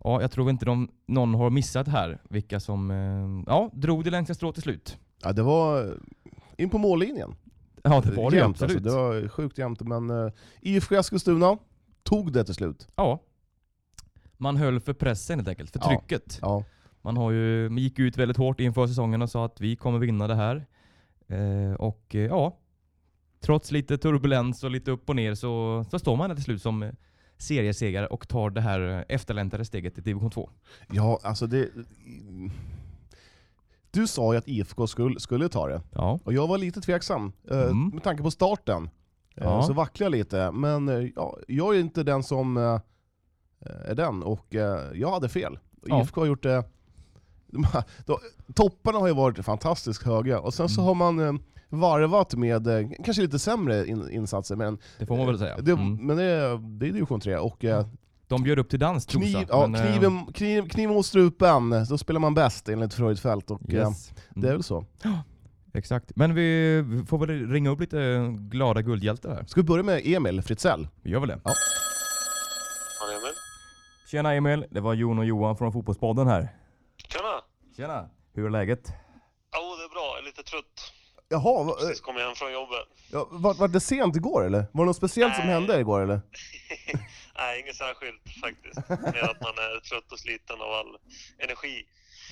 ja, jag tror inte de, någon har missat här vilka som eh, ja, drog det längsta strået till slut. Ja, det var eh, in på mållinjen. Ja, det var det ju, Jämnt, absolut. Alltså. Det var sjukt jämnt, men eh, IFK Eskilstuna tog det till slut. Ja. Man höll för pressen helt enkelt, för Ja. trycket. Ja, Man har ju, man gick ut väldigt hårt inför säsongen och sa att vi kommer vinna det här. Eh, och eh, ja, trots lite turbulens och lite upp och ner så, så står man här till slut som eh, seriesegare och tar det här eh, efterlängtade steget till division 2. ja alltså det... Du sa ju att IFK skulle, skulle ta det, Ja. och jag var lite tveksam eh, Mm. med tanke på starten. Eh, Ja. Så vacklade jag lite, men eh, ja, jag är inte den som eh, är den, och eh, jag hade fel. Och Ja. IFK har gjort det... de här- de- Topparna har ju varit fantastiskt höga, och sen Mm. så har man eh, varvat med eh, kanske lite sämre in, insatser, men Det får man väl säga. eh, Det, Mm. Men det, är- det är division 3, och eh, De bjöd upp till dans Trosa. kniv, ja, men, eh, kniven, kniv, kniven mot strupen, då spelar man bäst enligt Freudfeldt. Och, eh, Yes. Det är Mm. väl så. Exakt. Men vi vi får väl ringa upp lite eh, glada guldhjältar här. Ska vi börja med Emil Fritzell? Vi gör väl det. Ja, Emil. Tjena Emil, det var Jon och Johan från Fotbollspodden här. Tjena! Tjena. Hur är läget? Jo, det är bra. Jag är lite trött. Jaha, va, eh, Precis kom hem från jobbet. ja, var, var det sent igår eller? Var det något speciellt som Nej. hände igår eller? Nej, inget särskilt faktiskt. Mer att man är trött och sliten av all energi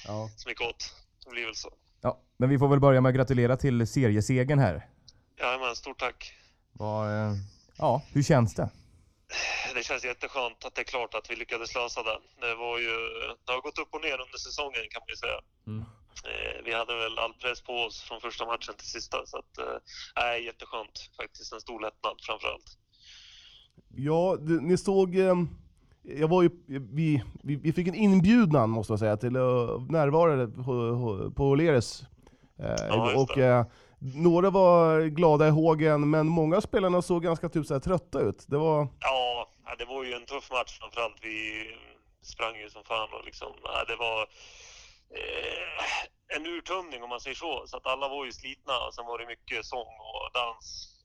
Ja. som gick åt. Det blir väl så. Ja, men vi får väl börja med att gratulera till seriesegern här. Jajamän, stort tack. Vad, eh, Ja, hur känns det? Det känns jätteskönt att det är klart att vi lyckades lösa den. Det, var ju, det har gått upp och ner under säsongen kan man ju säga. Mm. Eh, Vi hade väl all press på oss från första matchen till sista. Så att, eh, äh, jätteskönt faktiskt. En stor lättnad framförallt. Ja, du, ni såg... ehm, Jag var ju, vi, vi, vi fick en inbjudan måste jag säga till att närvara på, på O'Learys. Eh, Ja, just och eh, några var glada i hågen, men många av spelarna såg ganska typ så här, trötta ut. Det var... Ja, ja, det var ju en tuff match framförallt. Vi sprang ju som fan och liksom, ja, det var eh, en urtömning om man säger så. Så att alla var ju slitna och sen var det mycket sång och dans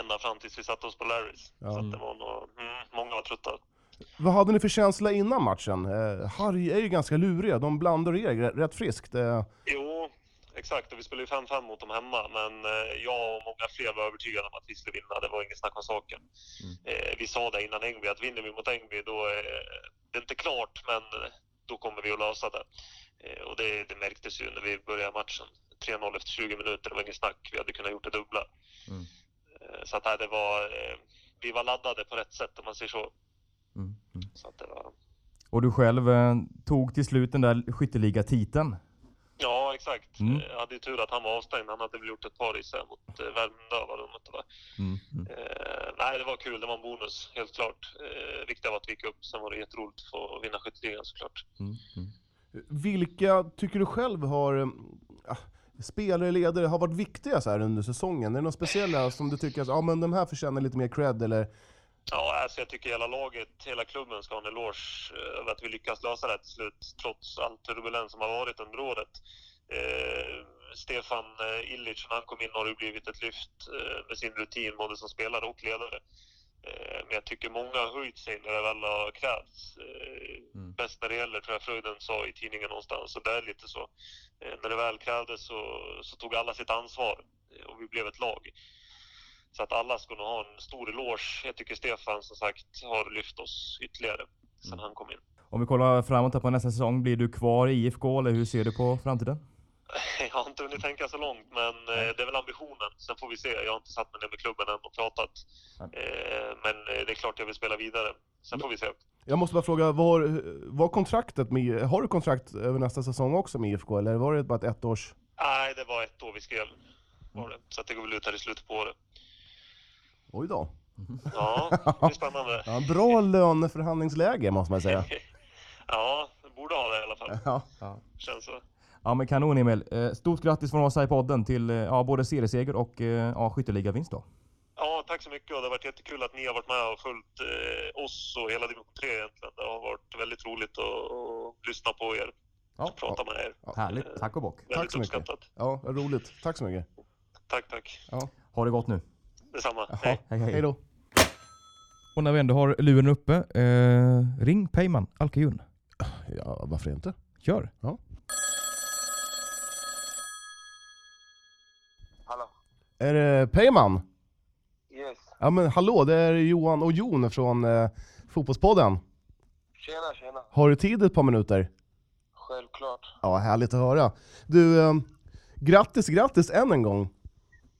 ända fram tills vi satte oss på Larrys. Så att det var nog, mm, många var trötta. Vad hade ni för känsla innan matchen? Eh, Harry är ju ganska luriga, de blandar er rätt- rätt friskt. Eh, Jo, exakt. Och vi spelade ju 5-5 mot dem hemma, men eh, jag och många fler var övertygade om att vi skulle vinna. Det var inget snack om saken. Mm. Eh, vi sa det innan Engby, att vinner vi mot Engby då är det är inte klart, men då kommer vi att lösa det. Eh, och det, det märktes ju när vi började matchen. 3-0 efter 20 minuter, det var inget snack. Vi hade kunnat gjort det dubbla. Mm. Eh, så att nej, det var, eh, vi var laddade på rätt sätt om man säger så. Mm, mm. så att det var, Och du själv eh, tog till slut den där skytteligatiteln. Ja, exakt. Eh, Mm. Jag hade ju tur att han var avstängd. Han hade väl gjort ett par i sig mot eh, Värmdö, var det de mötte, va? Mm, mm. Eh, nej, det var kul. Det var en bonus, helt klart. Eh, viktigt var att vi gick upp. Sen var det jätteroligt att få vinna skytteligan såklart. Mm, mm. Vilka tycker du själv har, eh, ah, spelare, ledare, har varit viktiga så här under säsongen? Är det några speciella som du tycker att ah, men de här förtjänar lite mer cred? Eller, Ja, alltså jag tycker hela laget, hela klubben ska ha en eloge eh, över att vi lyckas lösa det här till slut, trots all turbulens som har varit under året. Eh, Stefan eh, Illich, när han kom in, har det blivit ett lyft eh, med sin rutin, både som spelare och ledare. Eh, men jag tycker många har höjt sig när det väl har krävts. Eh, Mm. Bäst när det gäller, tror jag Fröjden sa i tidningen någonstans, och det är lite så. Eh, när det väl krävdes så, så tog alla sitt ansvar eh, och vi blev ett lag. Så att alla ska nog ha en stor eloge. Jag tycker Stefan som sagt har lyft oss ytterligare sen han kom in. (laughs) Om vi kollar framåt här på nästa säsong, blir du kvar i IFK eller hur ser du på framtiden? Jag har inte hunnit tänka så långt, men eh, det är väl ambitionen. Sen får vi se. Jag har inte satt mig ner med klubben än och pratat. Eh, men eh, det är klart jag vill spela vidare. Sen får vi se. jag måste bara fråga, var, var kontraktet med, har du kontrakt över nästa säsong också med IFK, eller var det bara ett ettårs... Nej, det var ett år vi skrev. Var det. Så att det går väl ut här i slutet på året. Oj då. Ja, det är spännande. (laughs) Ja, bra löneförhandlingsläge måste man (laughs) säga. Ja, borde ha det i alla fall. Ja. Känns så. Ja men kanon Emil. Eh, Stort grattis från oss här i podden till eh, ja, både serieseger och eh, ja, skytteligavinst då. Ja, tack så mycket och det har varit jättekul att ni har varit med och följt eh, oss och hela division 3 egentligen. Det har varit väldigt roligt att, att lyssna på er och prata med er. Härligt. Tack och bock. Väldigt så mycket. uppskattat. Ja, vad roligt. Tack så mycket. Tack, tack. Ha det gott nu. Detsamma. Hej. Hej hej. Hej då. Och när vi ändå har luren uppe, eh, ring Peyman Alkajun. Ja, varför inte? Kör! Hallå. Är det Peyman? Yes. Ja men hallå, det är Johan och Jon från eh, Fotbollspodden. Tjena, tjena. Har du tid ett par minuter? Självklart. Ja, härligt att höra. Du, eh, grattis, grattis än en gång.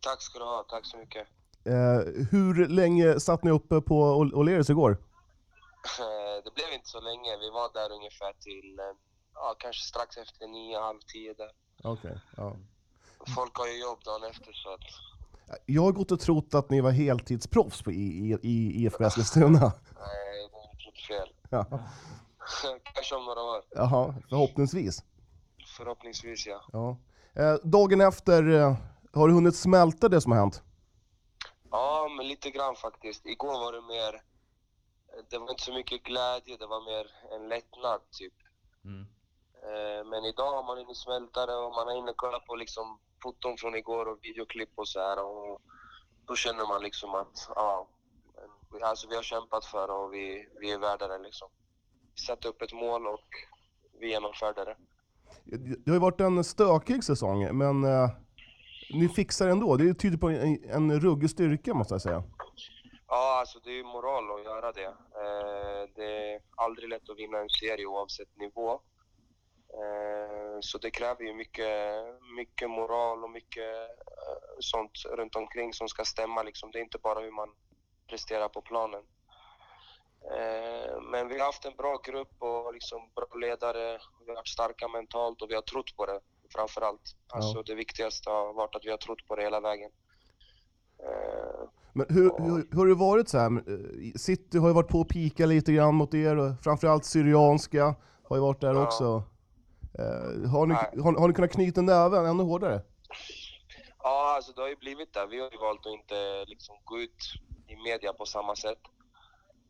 Tack ska du ha. Tack så mycket. Eh, hur länge satt ni uppe på Ol- O'Learys igår? Eh, Det blev inte så länge. Vi var där ungefär till eh, ja, kanske strax efter nio, halv tio där. Okej. ja. Folk har ju jobb dagen efter så att... eh, Jag har gått och trott att ni var heltidsproffs på i, i, i IFK (laughs) Eskilstuna. Nej, det är inte fel. (laughs) Ja. kanske om några år. Jaha, förhoppningsvis. Förhoppningsvis ja. Ja. Eh, dagen efter, eh, har du hunnit smälta det som har hänt? Ja, men lite grann faktiskt. Igår var det mer... Det var inte så mycket glädje, det var mer en lättnad typ. Eh, Men idag har man hunnit smälta det och man har hunnit kolla på liksom foton från igår och videoklipp och så här. Och då känner man liksom att ja, men, alltså vi har kämpat för det och vi, vi är värda det liksom. Vi satte upp ett mål och vi genomförde det. Det har ju varit en stökig säsong, men eh, ni fixar det ändå. Det tyder på en, en ruggig styrka måste jag säga. Ja, alltså det är ju moral att göra det. Eh, Det är aldrig lätt att vinna en serie oavsett nivå. Eh, Så det kräver ju mycket, mycket moral och mycket eh, sånt runt omkring som ska stämma. Liksom. Det är inte bara hur man presterar på planen. Eh, Men vi har haft en bra grupp och liksom bra ledare. Vi har varit starka mentalt och vi har trott på det framför allt. Alltså det viktigaste har varit att vi har trott på det hela vägen. Eh, Men hur, hur, hur har det varit så här? eh, City har ju varit på och pika lite grann mot er, och framförallt Syrianska har ju varit där Ja. också. Eh, har, ni, Nej. har, har ni kunnat knyta näven ännu hårdare? Ja, alltså det har ju blivit det. Vi har ju valt att inte liksom gå ut i media på samma sätt.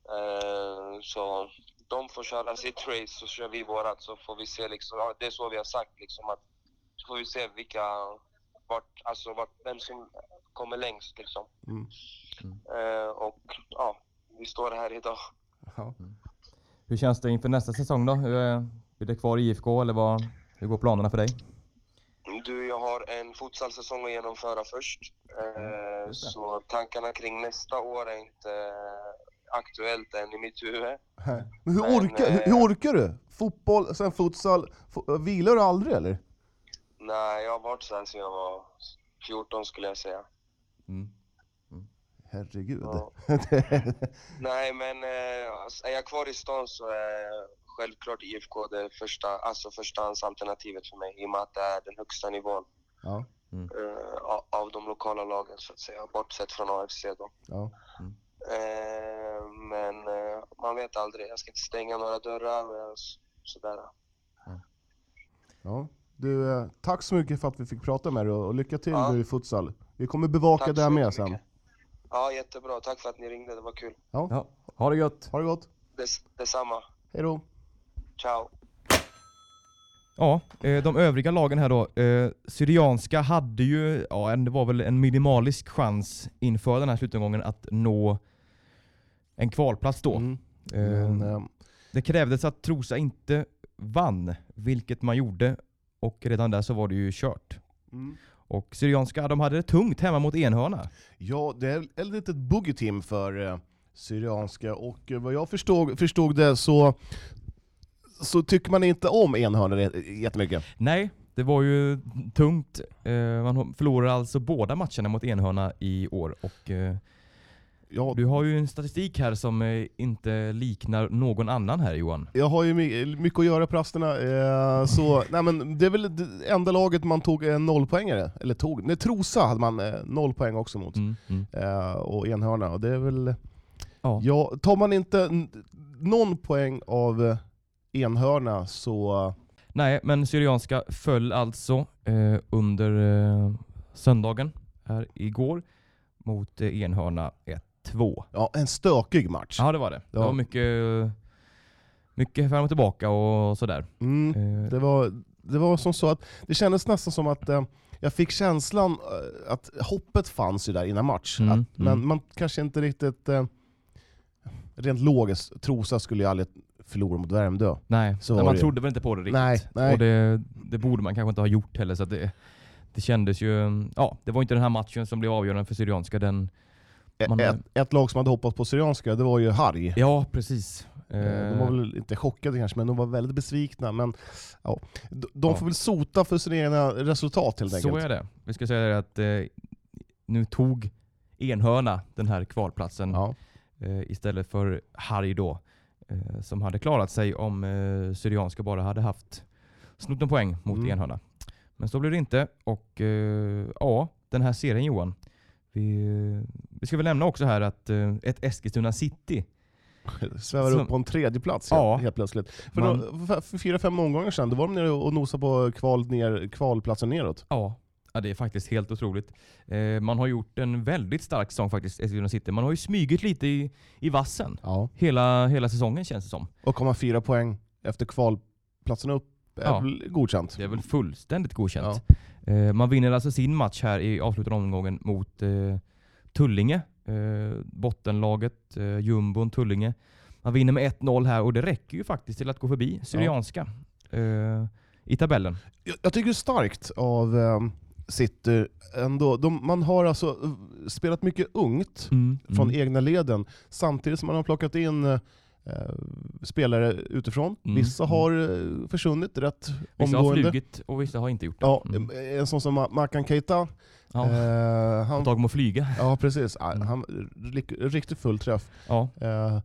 Eh, så de får köra sitt race så kör vi vårat så får vi se liksom, ja, det är så vi har sagt liksom att så får vi se vilka, vart, alltså vart, vem som kommer längst liksom. Mm. Eh, och ja, vi står här idag. Ja. Hur känns det inför nästa säsong då? Hur, eh, Blir det kvar i IFK eller vad, hur går planerna för dig? Du, jag har en futsalsäsong att genomföra först. Eh, Mm, just det. så tankarna kring nästa år är inte eh, aktuellt än i mitt huvud. (laughs) Men hur, Men, orkar, hur, hur orkar du? Fotboll, sen futsal. F- eh, vilar du aldrig eller? Nej, jag har varit så här sedan jag var 14 skulle jag säga. Herregud. Ja. (laughs) Nej, men eh, alltså, är jag kvar i stan så är självklart IFK det första, alltså förstahandsalternativet för mig i och med att det är den högsta nivån ja, Mm. eh, av- av de lokala lagen så att säga, bortsett från AFC då. ja. Mm. Eh, men eh, man vet aldrig. Jag ska inte stänga några dörrar. men s- Sådär. ja. Du, eh, tack så mycket för att vi fick prata med dig och och lycka till Ja. nu i futsal. Vi kommer bevaka Tack det så här med mycket. sen. Ja, jättebra. Tack för att ni ringde. Det var kul. Ja. Ja, ha det gött! Ha det gott. Des, detsamma. Hej då. Ciao. Ja, eh, de övriga lagen här då. Eh, Syrianska hade ju, ja en- det var väl en minimalisk chans inför den här slutomgången att nå en kvalplats då. Mm. Eh, Men, ehm, Det krävdes att Trosa inte vann, vilket man gjorde. Och redan där så var det ju kört. mm. Och Syrianska, de hade det tungt hemma mot Enhörna. Ja, det är ett litet boogie-team för eh, Syrianska och eh, vad jag förstod, förstod det så, så tycker man inte om enhörnor jät- jättemycket. Nej, det var ju tungt. Eh, Man förlorade alltså båda matcherna mot Enhörna i år. Och eh, Ja, du har ju en statistik här som eh, inte liknar någon annan här Johan. Jag har ju my- mycket att göra på rasterna, eh, så nej, men det är väl det enda laget man tog en nollpoängare, eller tog, nej Trosa hade man eh, noll poäng också mot, Mm, mm. eh, och enhörna, och det är väl... Ja. Ja, tar man inte n- någon poäng av eh, enhörna så... Nej, men Syrianska föll alltså eh, under eh, söndagen här igår mot eh, Enhörna 1-2. Ja, en stökig match. Ja det var det. Det Ja. var mycket, mycket fram och tillbaka och sådär. Mm. Eh, Det var, det var som så att det kändes nästan som att eh, jag fick känslan eh, att hoppet fanns ju där innan match. Mm, att, men mm. man kanske inte riktigt... Eh, rent logiskt, Trosa skulle ju aldrig förlora mot Värmdö. nej, så men var man det ju. trodde väl inte på det riktigt. Nej, nej. Och det, det borde man kanske inte ha gjort heller. Så att det, det kändes ju... Ja, det var inte den här matchen som blev avgörande för Syrianska. Den, Man- ett, ett lag som hade hoppats på Syrianska, det var ju Harg. ja, precis. Eh, Eh, De var väl inte chockade kanske, men de var väldigt besvikna. Men, ja. De de Ja. får väl sota för sina egna resultat helt enkelt. så är det. Vi ska säga det att eh, nu tog Enhörna den här kvalplatsen Ja. eh, istället för Harry då. Eh, som hade klarat sig om eh, Syrianska bara hade haft snott en poäng mot Mm. Enhörna. Men så blev det inte. Och eh, ja, den här serien Johan. Vi, vi ska väl nämna också här att eh, ett Eskilstuna City Svävar Som- upp på en tredje plats Ja. helt, helt plötsligt. För, Man- då, för, för fyra, fem omgångar sedan, då var de nere och nosade på kval ner, kvalplatsen neråt. Ja. ja, det är faktiskt helt otroligt. Eh, man har gjort en väldigt stark säsong faktiskt, Eskilstuna City. Man har ju smygit lite i, i vassen Ja. hela, hela säsongen känns det som. Och komma fyra poäng efter kvalplatsen upp är Ja. väl godkänt. Det är väl fullständigt godkänt. Eh, man vinner alltså sin match här i avslutande omgången mot eh, Tullinge. Eh, bottenlaget, eh, jumbon Tullinge. Man vinner med 1-0 här och det räcker ju faktiskt till att gå förbi Syrianska eh, i tabellen. Jag, jag tycker det är starkt av eh, sitter ändå... De, man har alltså eh, spelat mycket ungt Mm. Mm. från egna leden samtidigt som man har plockat in eh, spelare utifrån. Mm. Vissa har eh, försvunnit rätt Vissa har omgående. flugit och vissa har inte gjort det. Ja, Mm. eh, En sån som Ma- Makan Keita. Ja. Eh, På Mm. han, tal om att flyga. ja, precis. Ah, Han, rik- riktigt full träff. Ja. Eh,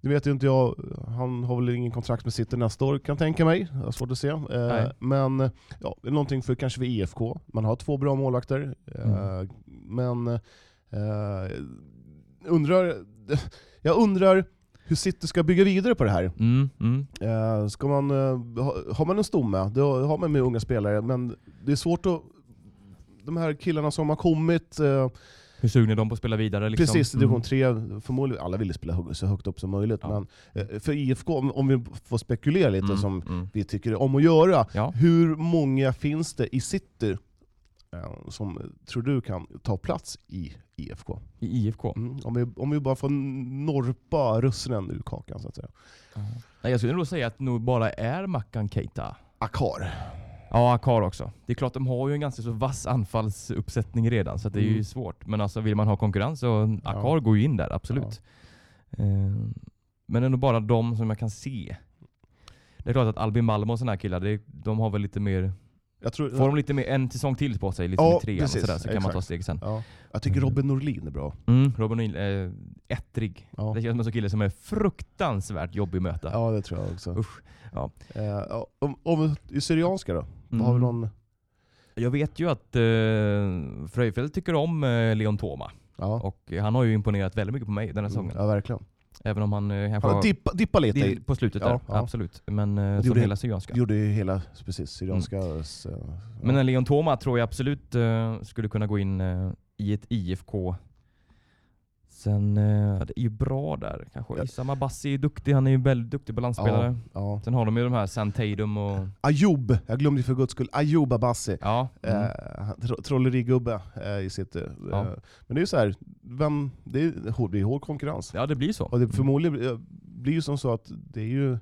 nu vet ju inte jag, han har väl ingen kontrakt med City nästa år kan jag tänka mig. Jag har svårt att se. Eh, Nej. men ja, det är någonting för kanske vid IFK. Man har två bra målvakter. Eh, Men eh, undrar, jag undrar hur City ska bygga vidare på det här. Mm, mm. Eh, ska man, eh, ha, har man en stomme, då har man med unga spelare, men det är svårt att... De här killarna som har kommit, eh, Hur sugna är de på att spela vidare? Liksom? Precis, Mm. division 3, förmodligen, alla vill ju spela hö- så högt upp som möjligt. Ja. Men eh, för IFK, om, om vi får spekulera lite Mm, som mm. vi tycker om att göra, Ja. hur många finns det i city eh, som eh, tror du kan ta plats i IFK? I IFK? Mm. Om, vi, om vi bara får norpa russinen ur kakan så att säga. Nej, jag skulle nog säga att det nog bara är Mackan Keita. Akar. Ja, Akar också. Det är klart, de har ju en ganska så vass anfallsuppsättning redan, så att det är Mm. ju svårt. Men alltså, vill man ha konkurrens så Akar går ju in där, absolut. Eh, Men ändå bara de som jag kan se. Det är klart att Albin Malm och sådana här killar, det, de har väl lite mer... Jag tror, Får de lite mer en säsong till på sig, liksom Ja, i trean och precis. sådär, så kan man ta Exakt. steg sen. ja. jag tycker Mm. Robin Norlin är bra. Mm, Robin O'Neill, eh, ettrig. Ja. Det känns som en sån kille som är fruktansvärt jobbig att möta. Ja det tror jag också. Usch, ja. Eh, ja, om, om, I Syrianska då? Mm. Har vi någon... Jag vet ju att eh, Fröjfeldt tycker om eh, Leon Toma. Ja, Och eh, han har ju imponerat väldigt mycket på mig den här säsongen. ja verkligen. Även om han eh, kanske Han har dippa, dippa lite. i- dill på slutet Ja, där. ja. Absolut. Men eh, det som gjorde- hela syrianska. Gjorde ju hela, precis, Syrianska. s- eh, Mm. Men en Leon Toma tror jag absolut eh, skulle kunna gå in eh, i ett IFK. Sen, eh, det är ju bra där kanske. Ja. Isam Abassi är ju duktig. Han är ju väldigt duktig balansspelare. ja. Sen har de ju de här Sam Tatum och... Ayoub, jag glömde ju för guds skull, Ayoub Abassi. Ja. Mm. Eh, han- tro- trollerigubbe eh, i sitt... Eh, Ja. Men det är ju så här, vem, det, är, hård- det är hård konkurrens. ja, det blir så. Mm. Och det förmodligen eh, blir ju som så att det är ju,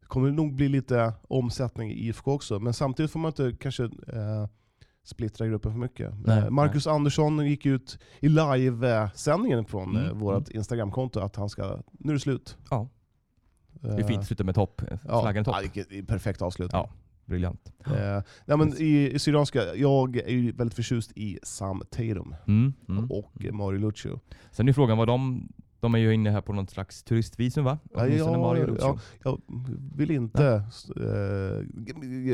det kommer nog bli lite omsättning i IFK också, men samtidigt får man inte kanske eh, splittra gruppen för mycket. Nej, Eh, Marcus Andersson gick ut i live-sändningen från Mm, eh, vårt Instagramkonto att han ska, nu är det slut. Ja. Eh, Det är fint att sluta med topp. Ja, Flaggan i topp. ja, vilket- det är perfekt avslut. Ja. Briljant. Eh, nej, men i, i Syrianska, jag är ju väldigt förtjust i Sam Tatum Mm. Mm. och eh, Mario Lucio. Sen är frågan vad de... De är ju inne här på något slags turistvisum va? Ja, Åtminstone ja, Mario Lucio. ja. Jag vill inte... Eh,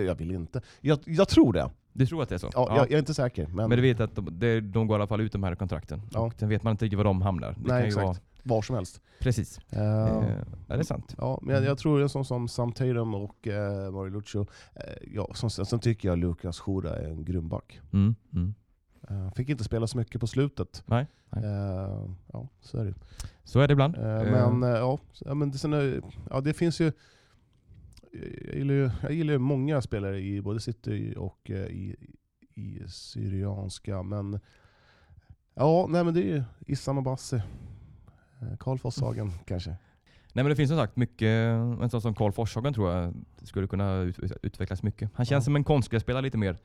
jag vill inte. Jag, jag tror det. Du tror att det är så? Ja, Jag, jag är inte säker, men, Men du vet att de, det- de går i alla fall ut de här kontrakten. Ja. Och sen vet man inte riktigt var de hamnar. Det Nej, kan ju exakt. vara... var som helst. Precis. Eh, Eh, ja, det är sant. Ja, men jag, jag tror en sån som Sam Tatum och eh, Mario Lucio. Eh, ja, som, sen, sen tycker jag Lukas Hora är en grym back. Mm. Mm. Eh, fick inte spela så mycket på slutet. Nej, nej. Eh, ja, så är det. Så är det ibland. Eh, Men eh, ja, s- ja, men det, sen, är- ja, det finns ju... Jag gillar ju, jag gillar ju många spelare i både City och eh, i, i Syrianska, men... Ja, nej men det är ju Issam Abassi. Eh, (laughs) Karl Fosshagen kanske. Nej men det finns som sagt mycket, en sån som Karl Forshagen tror jag skulle kunna ut, ut- utvecklas mycket. Han känns Ja. som en konstgrässpelare lite mer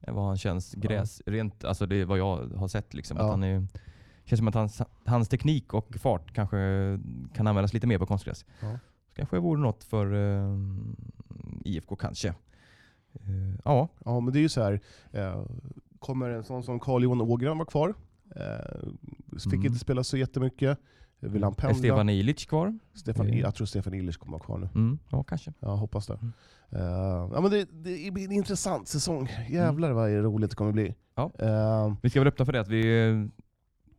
än vad han känns gräs. Rent, alltså det är vad jag har sett liksom. Att Ja. han är, känns som att hans, hans teknik och fart kanske kan användas lite mer på konstgräs. Ja. Så kanske det vore något för eh, IFK kanske. Eh, ja, Ja, men det är ju så här. Eh, kommer en sån som Carl Johan Ågren vara kvar? Eh, fick Mm. inte spela så jättemycket. Vill han är pendla? Stefan Ilic kvar? Stefan, jag tror Stefan Illich kommer vara kvar nu. Mm, ja, kanske. Jag hoppas det. Mm. Eh, ja, men det, det blir en intressant säsong. Jävlar vad roligt det kommer bli. Mm. Ja. Eh, Vi ska väl öppna för det att vi, eh,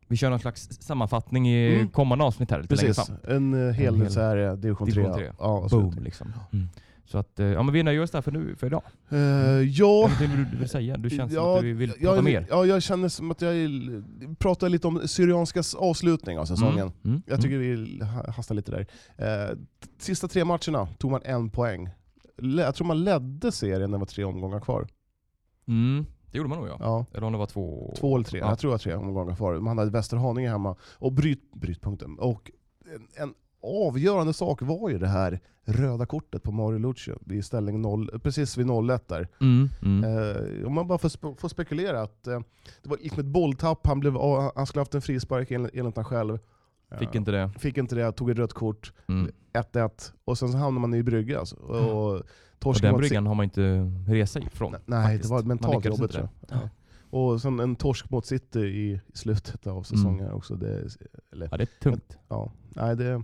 vi kör någon slags sammanfattning i Mm. kommande avsnitt här lite längre precis, fram. en eh, hel, En hel så här, eh, division 3. division tre. Ja, och så Boom vidare. liksom. Mm. Så att, eh, ja men vi nöjer oss där för nu, för idag. Eh, ja, Är det vill du vill säga? Du känns som att du vill prata jag, mer. Ja, jag känner som att jag vill prata lite om Syrianskas avslutning av säsongen. Mm, mm, Jag tycker vi ha- hastar lite där. Eh, t- sista tre matcherna tog man en poäng. Le- jag tror man ledde serien när det var tre omgångar kvar. mm. Mm, det gjorde man nog ja. Ja. Eller om det var två... Två eller tre, Ja. jag tror jag tre omgångar kvar. Man hade Västerhaninge hemma och bryt, brytpunkten. Och en, en avgörande sak var ju det här röda kortet på Mario Lucio vid ställning 0, precis vid 01 där. Mm, mm. Eh, om man bara får, spe, får spekulera att eh, det var, gick med ett bolltapp, han, blev, av- han skulle haft en frispark enligt, enligt han själv. Eh, Fick inte det. fick inte det, tog ett rött kort, Mm. 1-1. Och sen så hamnar man i brygga alltså. Och, och Och torsken den var ett bryggan har man inte resa ifrån. Nej, faktiskt. det var ett Man mentalt lyckades jobbigt inte tror jag. Nej. Och sen en torsk mot City i i slutet Mm. av säsongen också. Det, Ja, det är tungt. ja. Nej, det,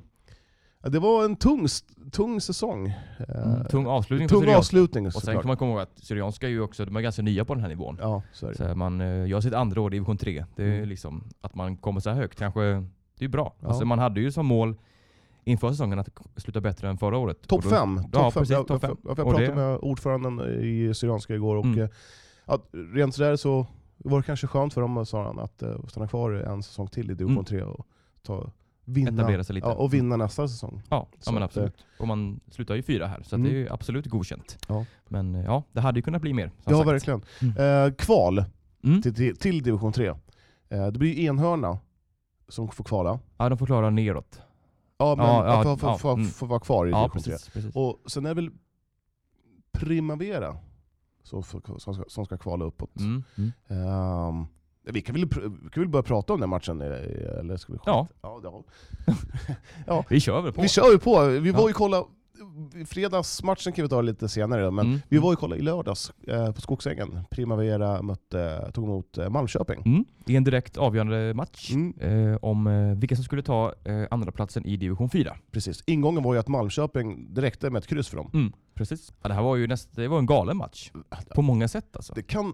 ja, det var en tung, st- tung säsong. Eh, Mm. Tung avslutning för tung Syrianska. avslutning Och sen såklart. kan man komma ihåg att Syrianska är ju också, de är ganska nya på den här nivån. Ja, så är det. Så man, eh, jag har sitt andra år i division 3. Det är Mm. liksom, att man kommer så här högt kanske, det är bra. Ja. Alltså man hade ju som mål inför säsongen att k- sluta bättre än förra året. Topp Och då- fem. Ja, Topp fem. precis, Jag, topp fem. jag, jag Och pratade det- med ordföranden i Syrianska igår och Mm. eh, att rent sådär så var det kanske skönt för dem, sa han, att eh, stanna kvar en säsong till i division Mm. 3 och ta, vinna, Etablera sig lite. ja, och vinna nästa säsong. Ja, ja Så men att, eh, absolut. Och man slutar ju fyra här, så att Mm. det är ju absolut godkänt. Ja. Men eh, ja, det hade ju kunnat bli mer. som Ja, sagt. verkligen. Mm. Eh, kval Mm. till, till, till division 3. Eh, det blir ju Enhörna som får kvala. Ja, de får klara neråt. Ja, men Ja, ja, ja, får, får, ja, får, mm. får vara kvar i Ja, division 3. precis. precis. Och sen är det väl Primavera som, får- som, ska, som ska kvala uppåt. Mm. Mm. Ehm, vi kan väl, pr- vi kan väl börja prata om den matchen, eller eller ska vi Ja. Ja, ja. Vi kör väl på. Vi kör ju på. Vi Ja. var ju kolla, fredagsmatchen kan vi ta lite senare, men Mm. vi var ju kolla i lördags eh, på Skogsängen. Primavera mötte, tog emot eh, Malmköping. Mm. I en direkt avgörande match Mm. eh, om eh, vilka som skulle ta eh, andra platsen i division 4. Precis. Ingången var ju att Malmköping, det räckte med ett kryss för dem. Precis. Mm. Ja, det här var ju näst, det var en galen match. På många sätt alltså. Det kan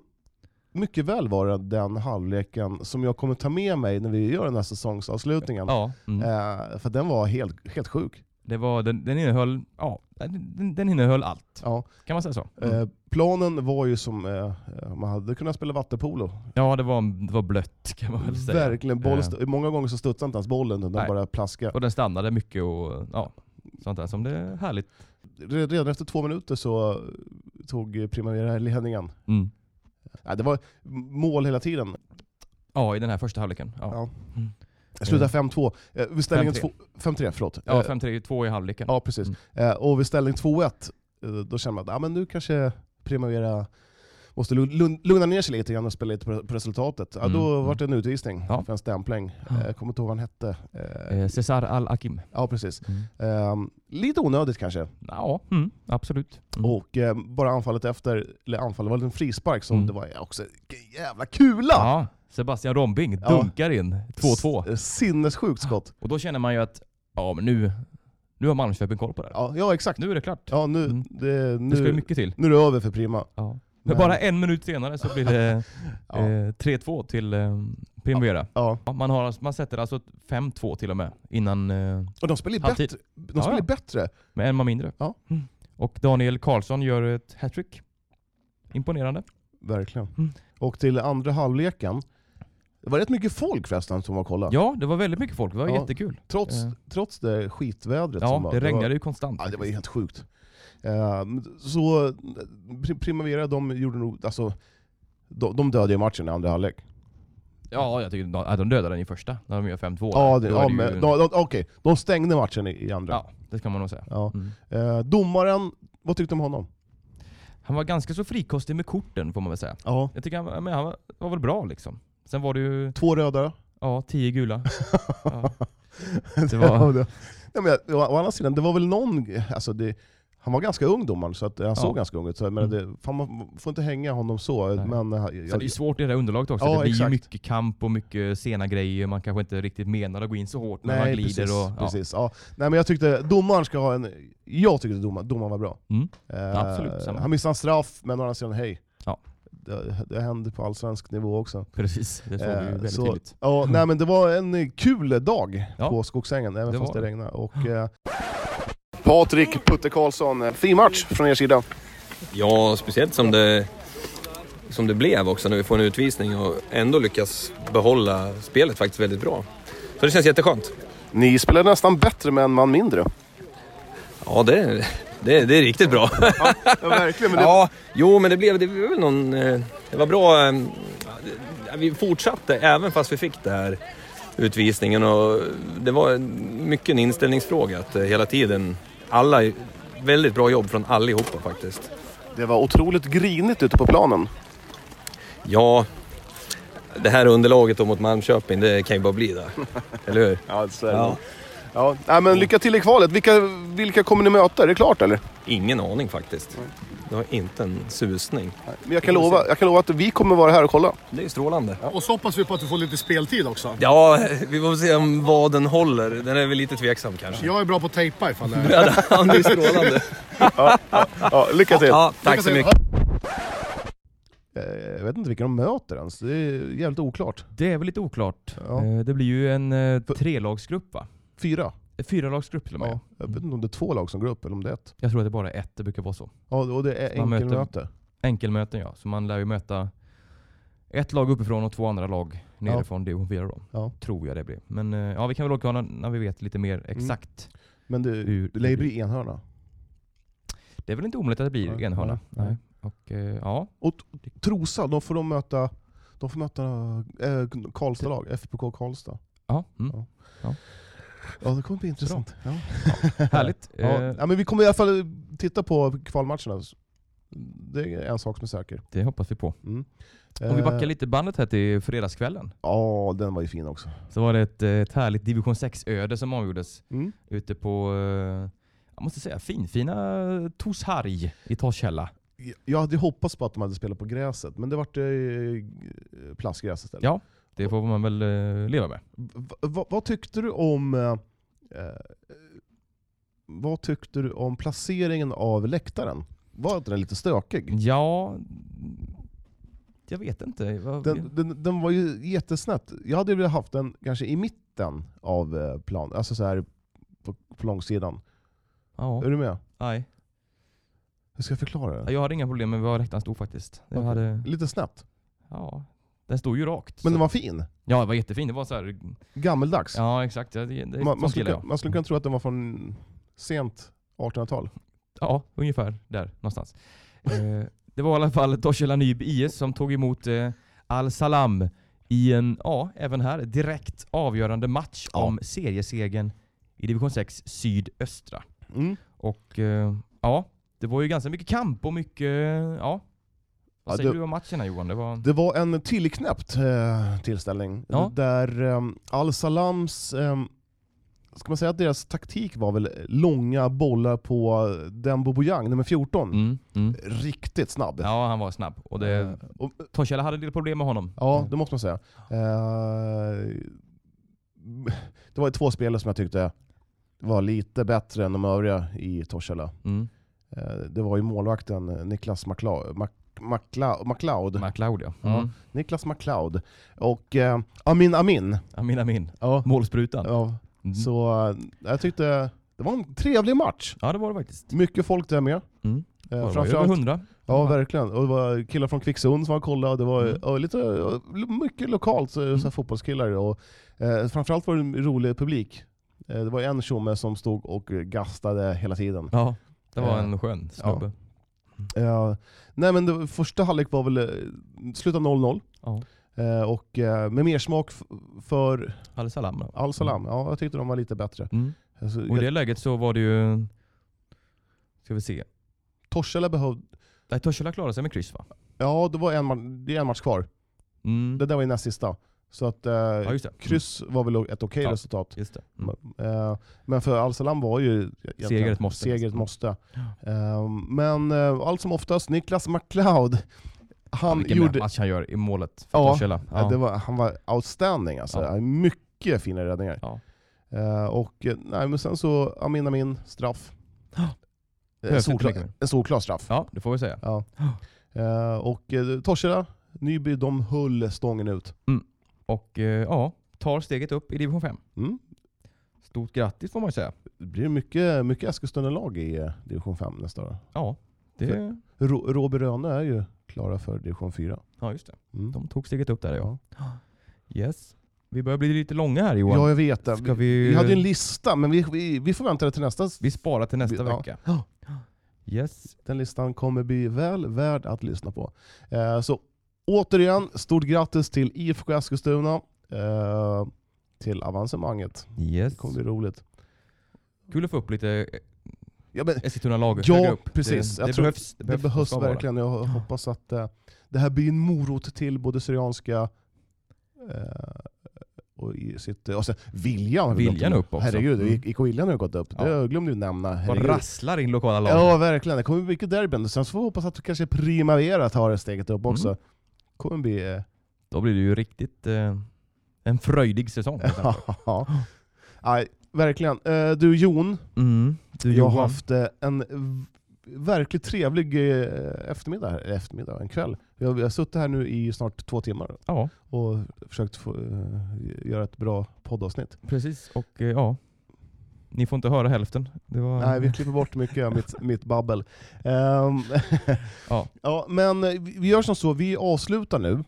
mycket väl vara den halvleken som jag kommer ta med mig när vi gör den här säsongsavslutningen. Ja, mm. Eh, för den var helt, helt sjuk. det var, den, den, innehöll, ja, den, den innehöll allt. Ja. Kan man säga så? Mm. Eh, planen var ju som, eh, eh, man hade kunnat spela vattenpolo. Ja, det var, det var blött kan man väl säga. Verkligen. Boll, Eh. st- många gånger så studsade inte ens bollen, den Nej. bara plaskade. Och den stannade mycket och ja, sånt där som det är härligt. Re- Redan efter två minuter så eh, tog Primavera ledningen. Mm. Nej, det var m- mål hela tiden. Ja, i den här första halvleken. Ja, Ja. Mm. Slutade 5-2. Eh, vid ställningen 5-3. 2 5-3, förlåt. ja Eh, 5-3 är ju två i halvleken. Ja, precis. Mm. Eh, och vid ställning 2-1, eh, då känner man att ah, men nu kanske Primavera måste lugn- lugn- lugna ner sig lite grann och spela lite på, på resultatet. Ja, då Mm. var det en utvisning Ja. för en stämpling. Eh, Jag kommer inte ihåg vad han hette. Eh, Eh, Cesar Al-Akim. Ja, precis. Mm. Ehm, lite onödigt kanske. Ja, mm, absolut. Mm. Och eh, bara anfallet efter, eller anfallet var en liten frispark som Mm. det var också, vilken jävla kula! Ja, Sebastian Rombing Ja. dunkar in 2-2. S- eh, Sinnessjukt skott. Och då känner man ju att ja, men nu, nu har Malmköping koll på det här. Ja, ja exakt. Nu är det klart. Ja, nu, Mm. det, Det ska ju nu, mycket till. nu är det över för Prima. Ja. Men Men- bara en minut senare så blir (laughs) det Ja. eh, 3-2 till eh, Primavera. Ja. Ja, man, har, alltså- man sätter alltså ett 5-2 till och med innan, eh, Och de spelar ju Halvtid. bättre. De Ja, spelar ju ja. bättre. med en man mindre. Ja. Mm. Och Daniel Karlsson gör ett hattrick. Imponerande. Verkligen. Mm. Och till andra halvleken, det var rätt mycket folk förresten som var och kollade. Ja, det var väldigt mycket folk. Det var Ja. jättekul. Trots, Eh. trots det skitvädret som Ja, var. det var, regnade ju konstant. ja, det var faktiskt. ju helt sjukt. Ehm, så eh, Pri- Primavera, de gjorde nog, alltså, de, de dödade ju matchen i andra halvlek. ja jag tycker ja, de dödade den i första när de gör 5-2. Ja, Då det, är ja, ju- men, de, de, okej. De stängde matchen i, i andra. ja, det kan man nog säga. Ja. Mm. Eh, domaren, vad tyckte du om honom? Han var ganska så frikostig med korten får man väl säga. Ja. Jag tycker han, var- men han var, var väl bra liksom. Sen var det ju, Två röda. ja, tio (laughs) gula. Ja. Det var- Nej, men, jag- å, å andra sidan, det var väl någon... Alltså det, han var ganska ung domaren, så att, han såg ganska ung ut. Så, men det, fan, man får inte hänga honom så. Mm. Nej. Men, eh, jag, Så det är ju svårt i det där underlaget också. Ja, det blir ju exakt. mycket kamp och mycket sena grejer. Man kanske inte riktigt menar att gå in så hårt, men man nej, glider precis. och... Ja. precis ja. Nej, men jag tyckte domaren ska ha en... Jag tyckte domaren, domaren var bra. Mm. Eh, Absolut, samma. han missade en straff, men å andra sidan, hej. Ja. Det, det hände på allsvensk nivå också. Precis, det såg vi ju Eh, väldigt så- tydligt. Ja, nej, men det var en eh, kul dag Ja. på Skogsängen, även Det fast var det (laughs) regnade. Och, eh... Patrik Putte Karlsson, eh, fin match från er sida. Ja, speciellt som det, som det blev också när vi får en utvisning och ändå lyckas behålla spelet faktiskt väldigt bra. Så det känns jätteskönt. Ni spelade nästan bättre med en man mindre. Ja, det, det, det är riktigt (laughs) bra. Ja, verkligen. Men det... Ja, jo men det blev, det blev väl någon... eh, Det var bra... eh, ja, det- Vi fortsatte även fast vi fick det här utvisningen. Och det var mycket en inställningsfråga att eh, hela tiden, alla, väldigt bra jobb från allihopa faktiskt. Det var otroligt grinigt ute på planen. Ja, det här underlaget då mot Malmköping, det kan ju bara bli (laughs) där. Eller hur? Ja, så är det. Ja. Ja. Nej, men lycka till i kvalet. Vilka, vilka kommer ni möta? Är det klart eller? Ingen aning faktiskt. Jag har inte en susning. Men jag, kan lova, jag kan lova att vi kommer vara här och kolla. Det är ju strålande. Och så hoppas vi på att du får lite speltid också. Ja, vi får se om vad den håller. Den är väl lite tveksam kanske. Jag är bra på att tejpa ifall det är... Ja, det är strålande. Ja, lycka till. Ja, tack så mycket. Eh, Jag vet inte vilka de möter ens. Det är jävligt oklart. Det är väl lite oklart. Ja. Eh, Det blir ju en eh, trelagsgrupp va? Fyra. Eh, Fyralagsgrupp till och med. Ja. Jag vet inte om det är två lag som går upp eller om det är ett. Jag tror att det bara är ett, det brukar vara så. Ja, och det är Man möter- enkelmöte. Enkelmöten ja, så man lär ju möta ett lag uppifrån och två andra lag nerifrån division 4 då. Ja. Tror jag det blir. Men eh, ja, vi kan väl återkomma när vi vet lite mer Mm. exakt. Men det, Hur, det lär ju bli enhörna. det är väl inte omöjligt att det blir Nej, enhörna. nej, nej. Nej. Och eh, ja, Och t- Trosa, de får de möta, de får möta eh, Karlstad lag, FBK Karlstad. ja mm. Ja. Ja, det kommer bli intressant. Ja. härligt. Ja. Eh, Ja, men vi kommer i alla fall titta på kvalmatcherna. Det är en sak som är säker. det hoppas vi på. Eh, Om vi backar lite bandet här till fredagskvällen. Ja, den var ju fin också. Så var det ett, eh, ett härligt division 6-öde som avgjordes Mm. ute på, eh, jag måste säga, finfina Torsharg i Torshälla. Jag hade hoppats på att de hade spelat på gräset, men det vart eh, plastgräs istället. Ja. Det får man väl eh, leva med. V- v- vad tyckte du om eh, eh, vad tyckte du om placeringen av läktaren? Var inte den lite stökig? Ja, jag vet inte. Vad- Den, den, den var ju jättesnett. Jag hade velat haft den kanske i mitten av eh, planen, alltså så här på, på långsidan. ja, Är du med? nej. Hur ska jag förklara Ja, det? Jag hade inga problem med var läktaren stod faktiskt. Jag Okej. hade, Lite snett. ja, den stod ju rakt. Men så- den var fin. Ja, det var jättefin. Det var så här, Gammeldags. ja exakt. Det, det, det, man, man, sånt skulle, gillar kunna- jag. man skulle kunna tro att den var från sent 1800-tal. Ja, ungefär där någonstans. eh, (laughs) det var i alla fall Torshälla Nyby IS som tog emot eh, Al-Salam i en, ja, även här, direkt avgörande match Ja. om seriesegern i division 6 sydöstra. Mm. Och eh, ja, det var ju ganska mycket kamp och mycket, ja. Vad Ja, säger det- du om matchen här Johan? Det var... Det var en tillknäppt eh, tillställning Ja. där eh, Al-Salams, eh, ska man säga att deras taktik var väl långa bollar på den Bobojang, nummer 14. Mm, mm. Riktigt snabb. Ja, han var snabb. Och Eh, det, och, Torshälla hade en del problem med honom. ja, det måste man säga. Eh, det var två spelare som jag tyckte var lite bättre än de övriga i Torshälla. Mm. Eh, det var ju målvakten eh, Niklas McLeod. Mac- Macla- McLeod. McLeod ja. Ja. Mm. Niklas McLeod och eh, Amin Amin. Amin Amin. Ja. Målsprutan. Ja, Mm. Så eh, jag tyckte det var en trevlig match. Ja det var det faktiskt. Mycket folk där med. Mm. det Eh, var ju över framförallt, 100. ja, verkligen. Och det var killar från Kvicksund som var och kollade. och Det var Mm. ja, lite, ja, mycket lokalt, så, så här, fotbollskillar. Och, eh, framförallt var det en rolig publik. Eh, det var en tjomme som stod och gastade hela tiden. Ja, det var Eh, en skön snubbe. Mm. Eh, nej, men det, första halvlek var väl eh, slutade 0-0. Ja. Eh, och eh, med mer smak f- för Al-Salam. ja. Al-Salam. Ja, jag tyckte de var lite bättre. Mm. Alltså, Och i det läget så var det ju... Ska vi se. Torshälla behövde... Nej, Torshälla klarade sig med kryss va? Ja, det, var en, ma- det är en match kvar. Mm. Det där var ju näst sista. Så att eh, Ja just det. kryss var väl ett okej Ja. resultat. Mm. Just det. Mm. Eh, men för Al-Salam var ju egentligen- Seger ett måste. Seger ett måste. Ja. Eh, men eh, allt som oftast, Niklas McLeod, Han han Vilken gjorde... match han gör i målet för Ja, Torshälla. Ja. Det var, han var outstanding alltså. Ja. Mycket fina räddningar. Ja. Eh, och eh, nej, men sen så Amin Amin, straff. Ja. Eh, Behövs inte solklar- mycket mer. En solklar straff. ja, det får vi säga. Ja. Eh, och eh, Torshälla, Nyby, de höll stången ut. Och eh, ja, tar steget upp i division 5. Mm. Stort grattis får man ju säga. Det blir mycket, mycket Eskilstuna-lag i eh, division 5 nästa år. Ja, det... Rå- Råby Rönne är ju klara för division 4. Ja just det. Mm. De tog steget upp där ja. Yes. Vi börjar bli lite långa här Johan. Ja, jag vet det. Ska Vi, vi... vi hade ju en lista, men vi, vi, vi får vänta till nästa. Vi sparar till nästa Ja. vecka. Yes. Den listan kommer bli väl värd att lyssna på. Eh, så återigen, stort grattis till IFK Eskilstuna. Eh, till avancemanget. Yes. Det kommer bli roligt. Kul att få upp lite Ja, men, Eskilstuna lag högre ja upp. precis. Det, Jag det, tror behövs, det behövs ska vara. verkligen. Jag hoppas att eh, det här blir en morot till både Syrianska eh, och, i sitt, och sen Viljan. har vi Viljan glömt. upp också. Herregud, Mm. IK Viljan har ju gått upp. Ja. Det glömde vi nämna. Bara Herregud. rasslar in lokala lag. Ja, verkligen. Det kommer bli mycket derbyn. Sen så får vi hoppas att kanske Primavera tar steget upp också. Mm. kommer bli... (laughs) eh, Då blir det ju riktigt eh, en fröjdig säsong. Ja. Nej, verkligen. Eh, Du Jon, Mm. Du, jag Johan. har haft eh, en v- verkligt trevlig eh, eftermiddag, här. eftermiddag, en kväll. Jag jag har suttit här nu i snart två timmar Ja, och försökt få, eh, göra ett bra poddavsnitt. precis. Och eh, ja, ni får inte höra hälften. Det var... Nej, vi klipper bort mycket av (laughs) mitt, mitt babbel. Ehm, Ja. (laughs) ja, men eh, vi vi gör som så, vi avslutar nu.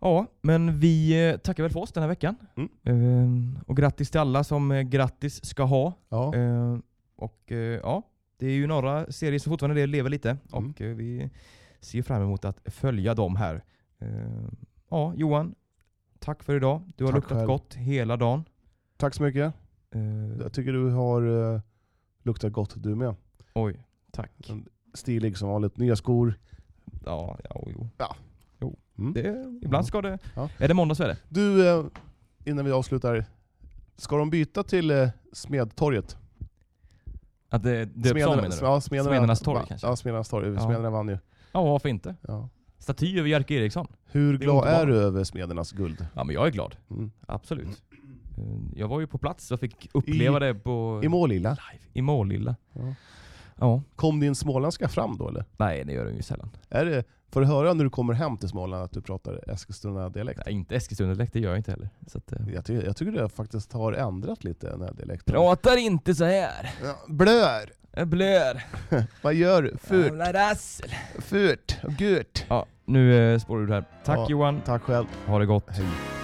Ja, men vi eh, tackar väl för oss den här veckan. Mm. Eh, och grattis till alla som eh, grattis ska ha. Ja. Eh, och eh, ja, det är ju några serier som fortfarande lever lite Mm. och eh, vi ser fram emot att följa dem här. Eh, ja, Johan. Tack för idag. Du har Tack luktat själv. gott hela dagen. Tack så mycket. Eh, Jag tycker du har eh, luktat gott du med. Eh, oj, tack. Mm. Stilig som vanligt, nya skor. Ja, ja jo, jo. Ja. Jo. Mm. Det, ibland ska det... Ja. Är det måndag så är det. Du, eh, innan vi avslutar. Ska de byta till eh, Smedtorget? Att det döps om menar du? ja, smederna, Smedernas torg va- kanske? Ja, Smedernas torg. Ja. Smederna vann ju. Ja, varför inte? Ja. Staty över Jerker Eriksson. Hur Det är glad underbart. är du över Smedernas guld? Ja, men jag är glad. Mm. Absolut. Eh, Jag var ju på plats och fick uppleva det på... I Målilla, live. I Målilla. Ja. Ja. kom din småländska fram då eller? Nej, det gör den ju sällan. Är det, får du höra när du kommer hem till Småland att du pratar Eskilstuna-dialekt? Nej, inte Eskilstuna-dialekt, det gör jag inte heller. Så att, eh, Jag, tycker- jag tycker det faktiskt har ändrat lite den här dialekten. Pratar inte så här. Ja, Blör! Jag blör. Vad gör du? Furt! Jävla rassel. Furt! Gurt! Ja, nu eh, spårar du här. Tack Ja. Johan. Tack själv. Ha det gott. Hej.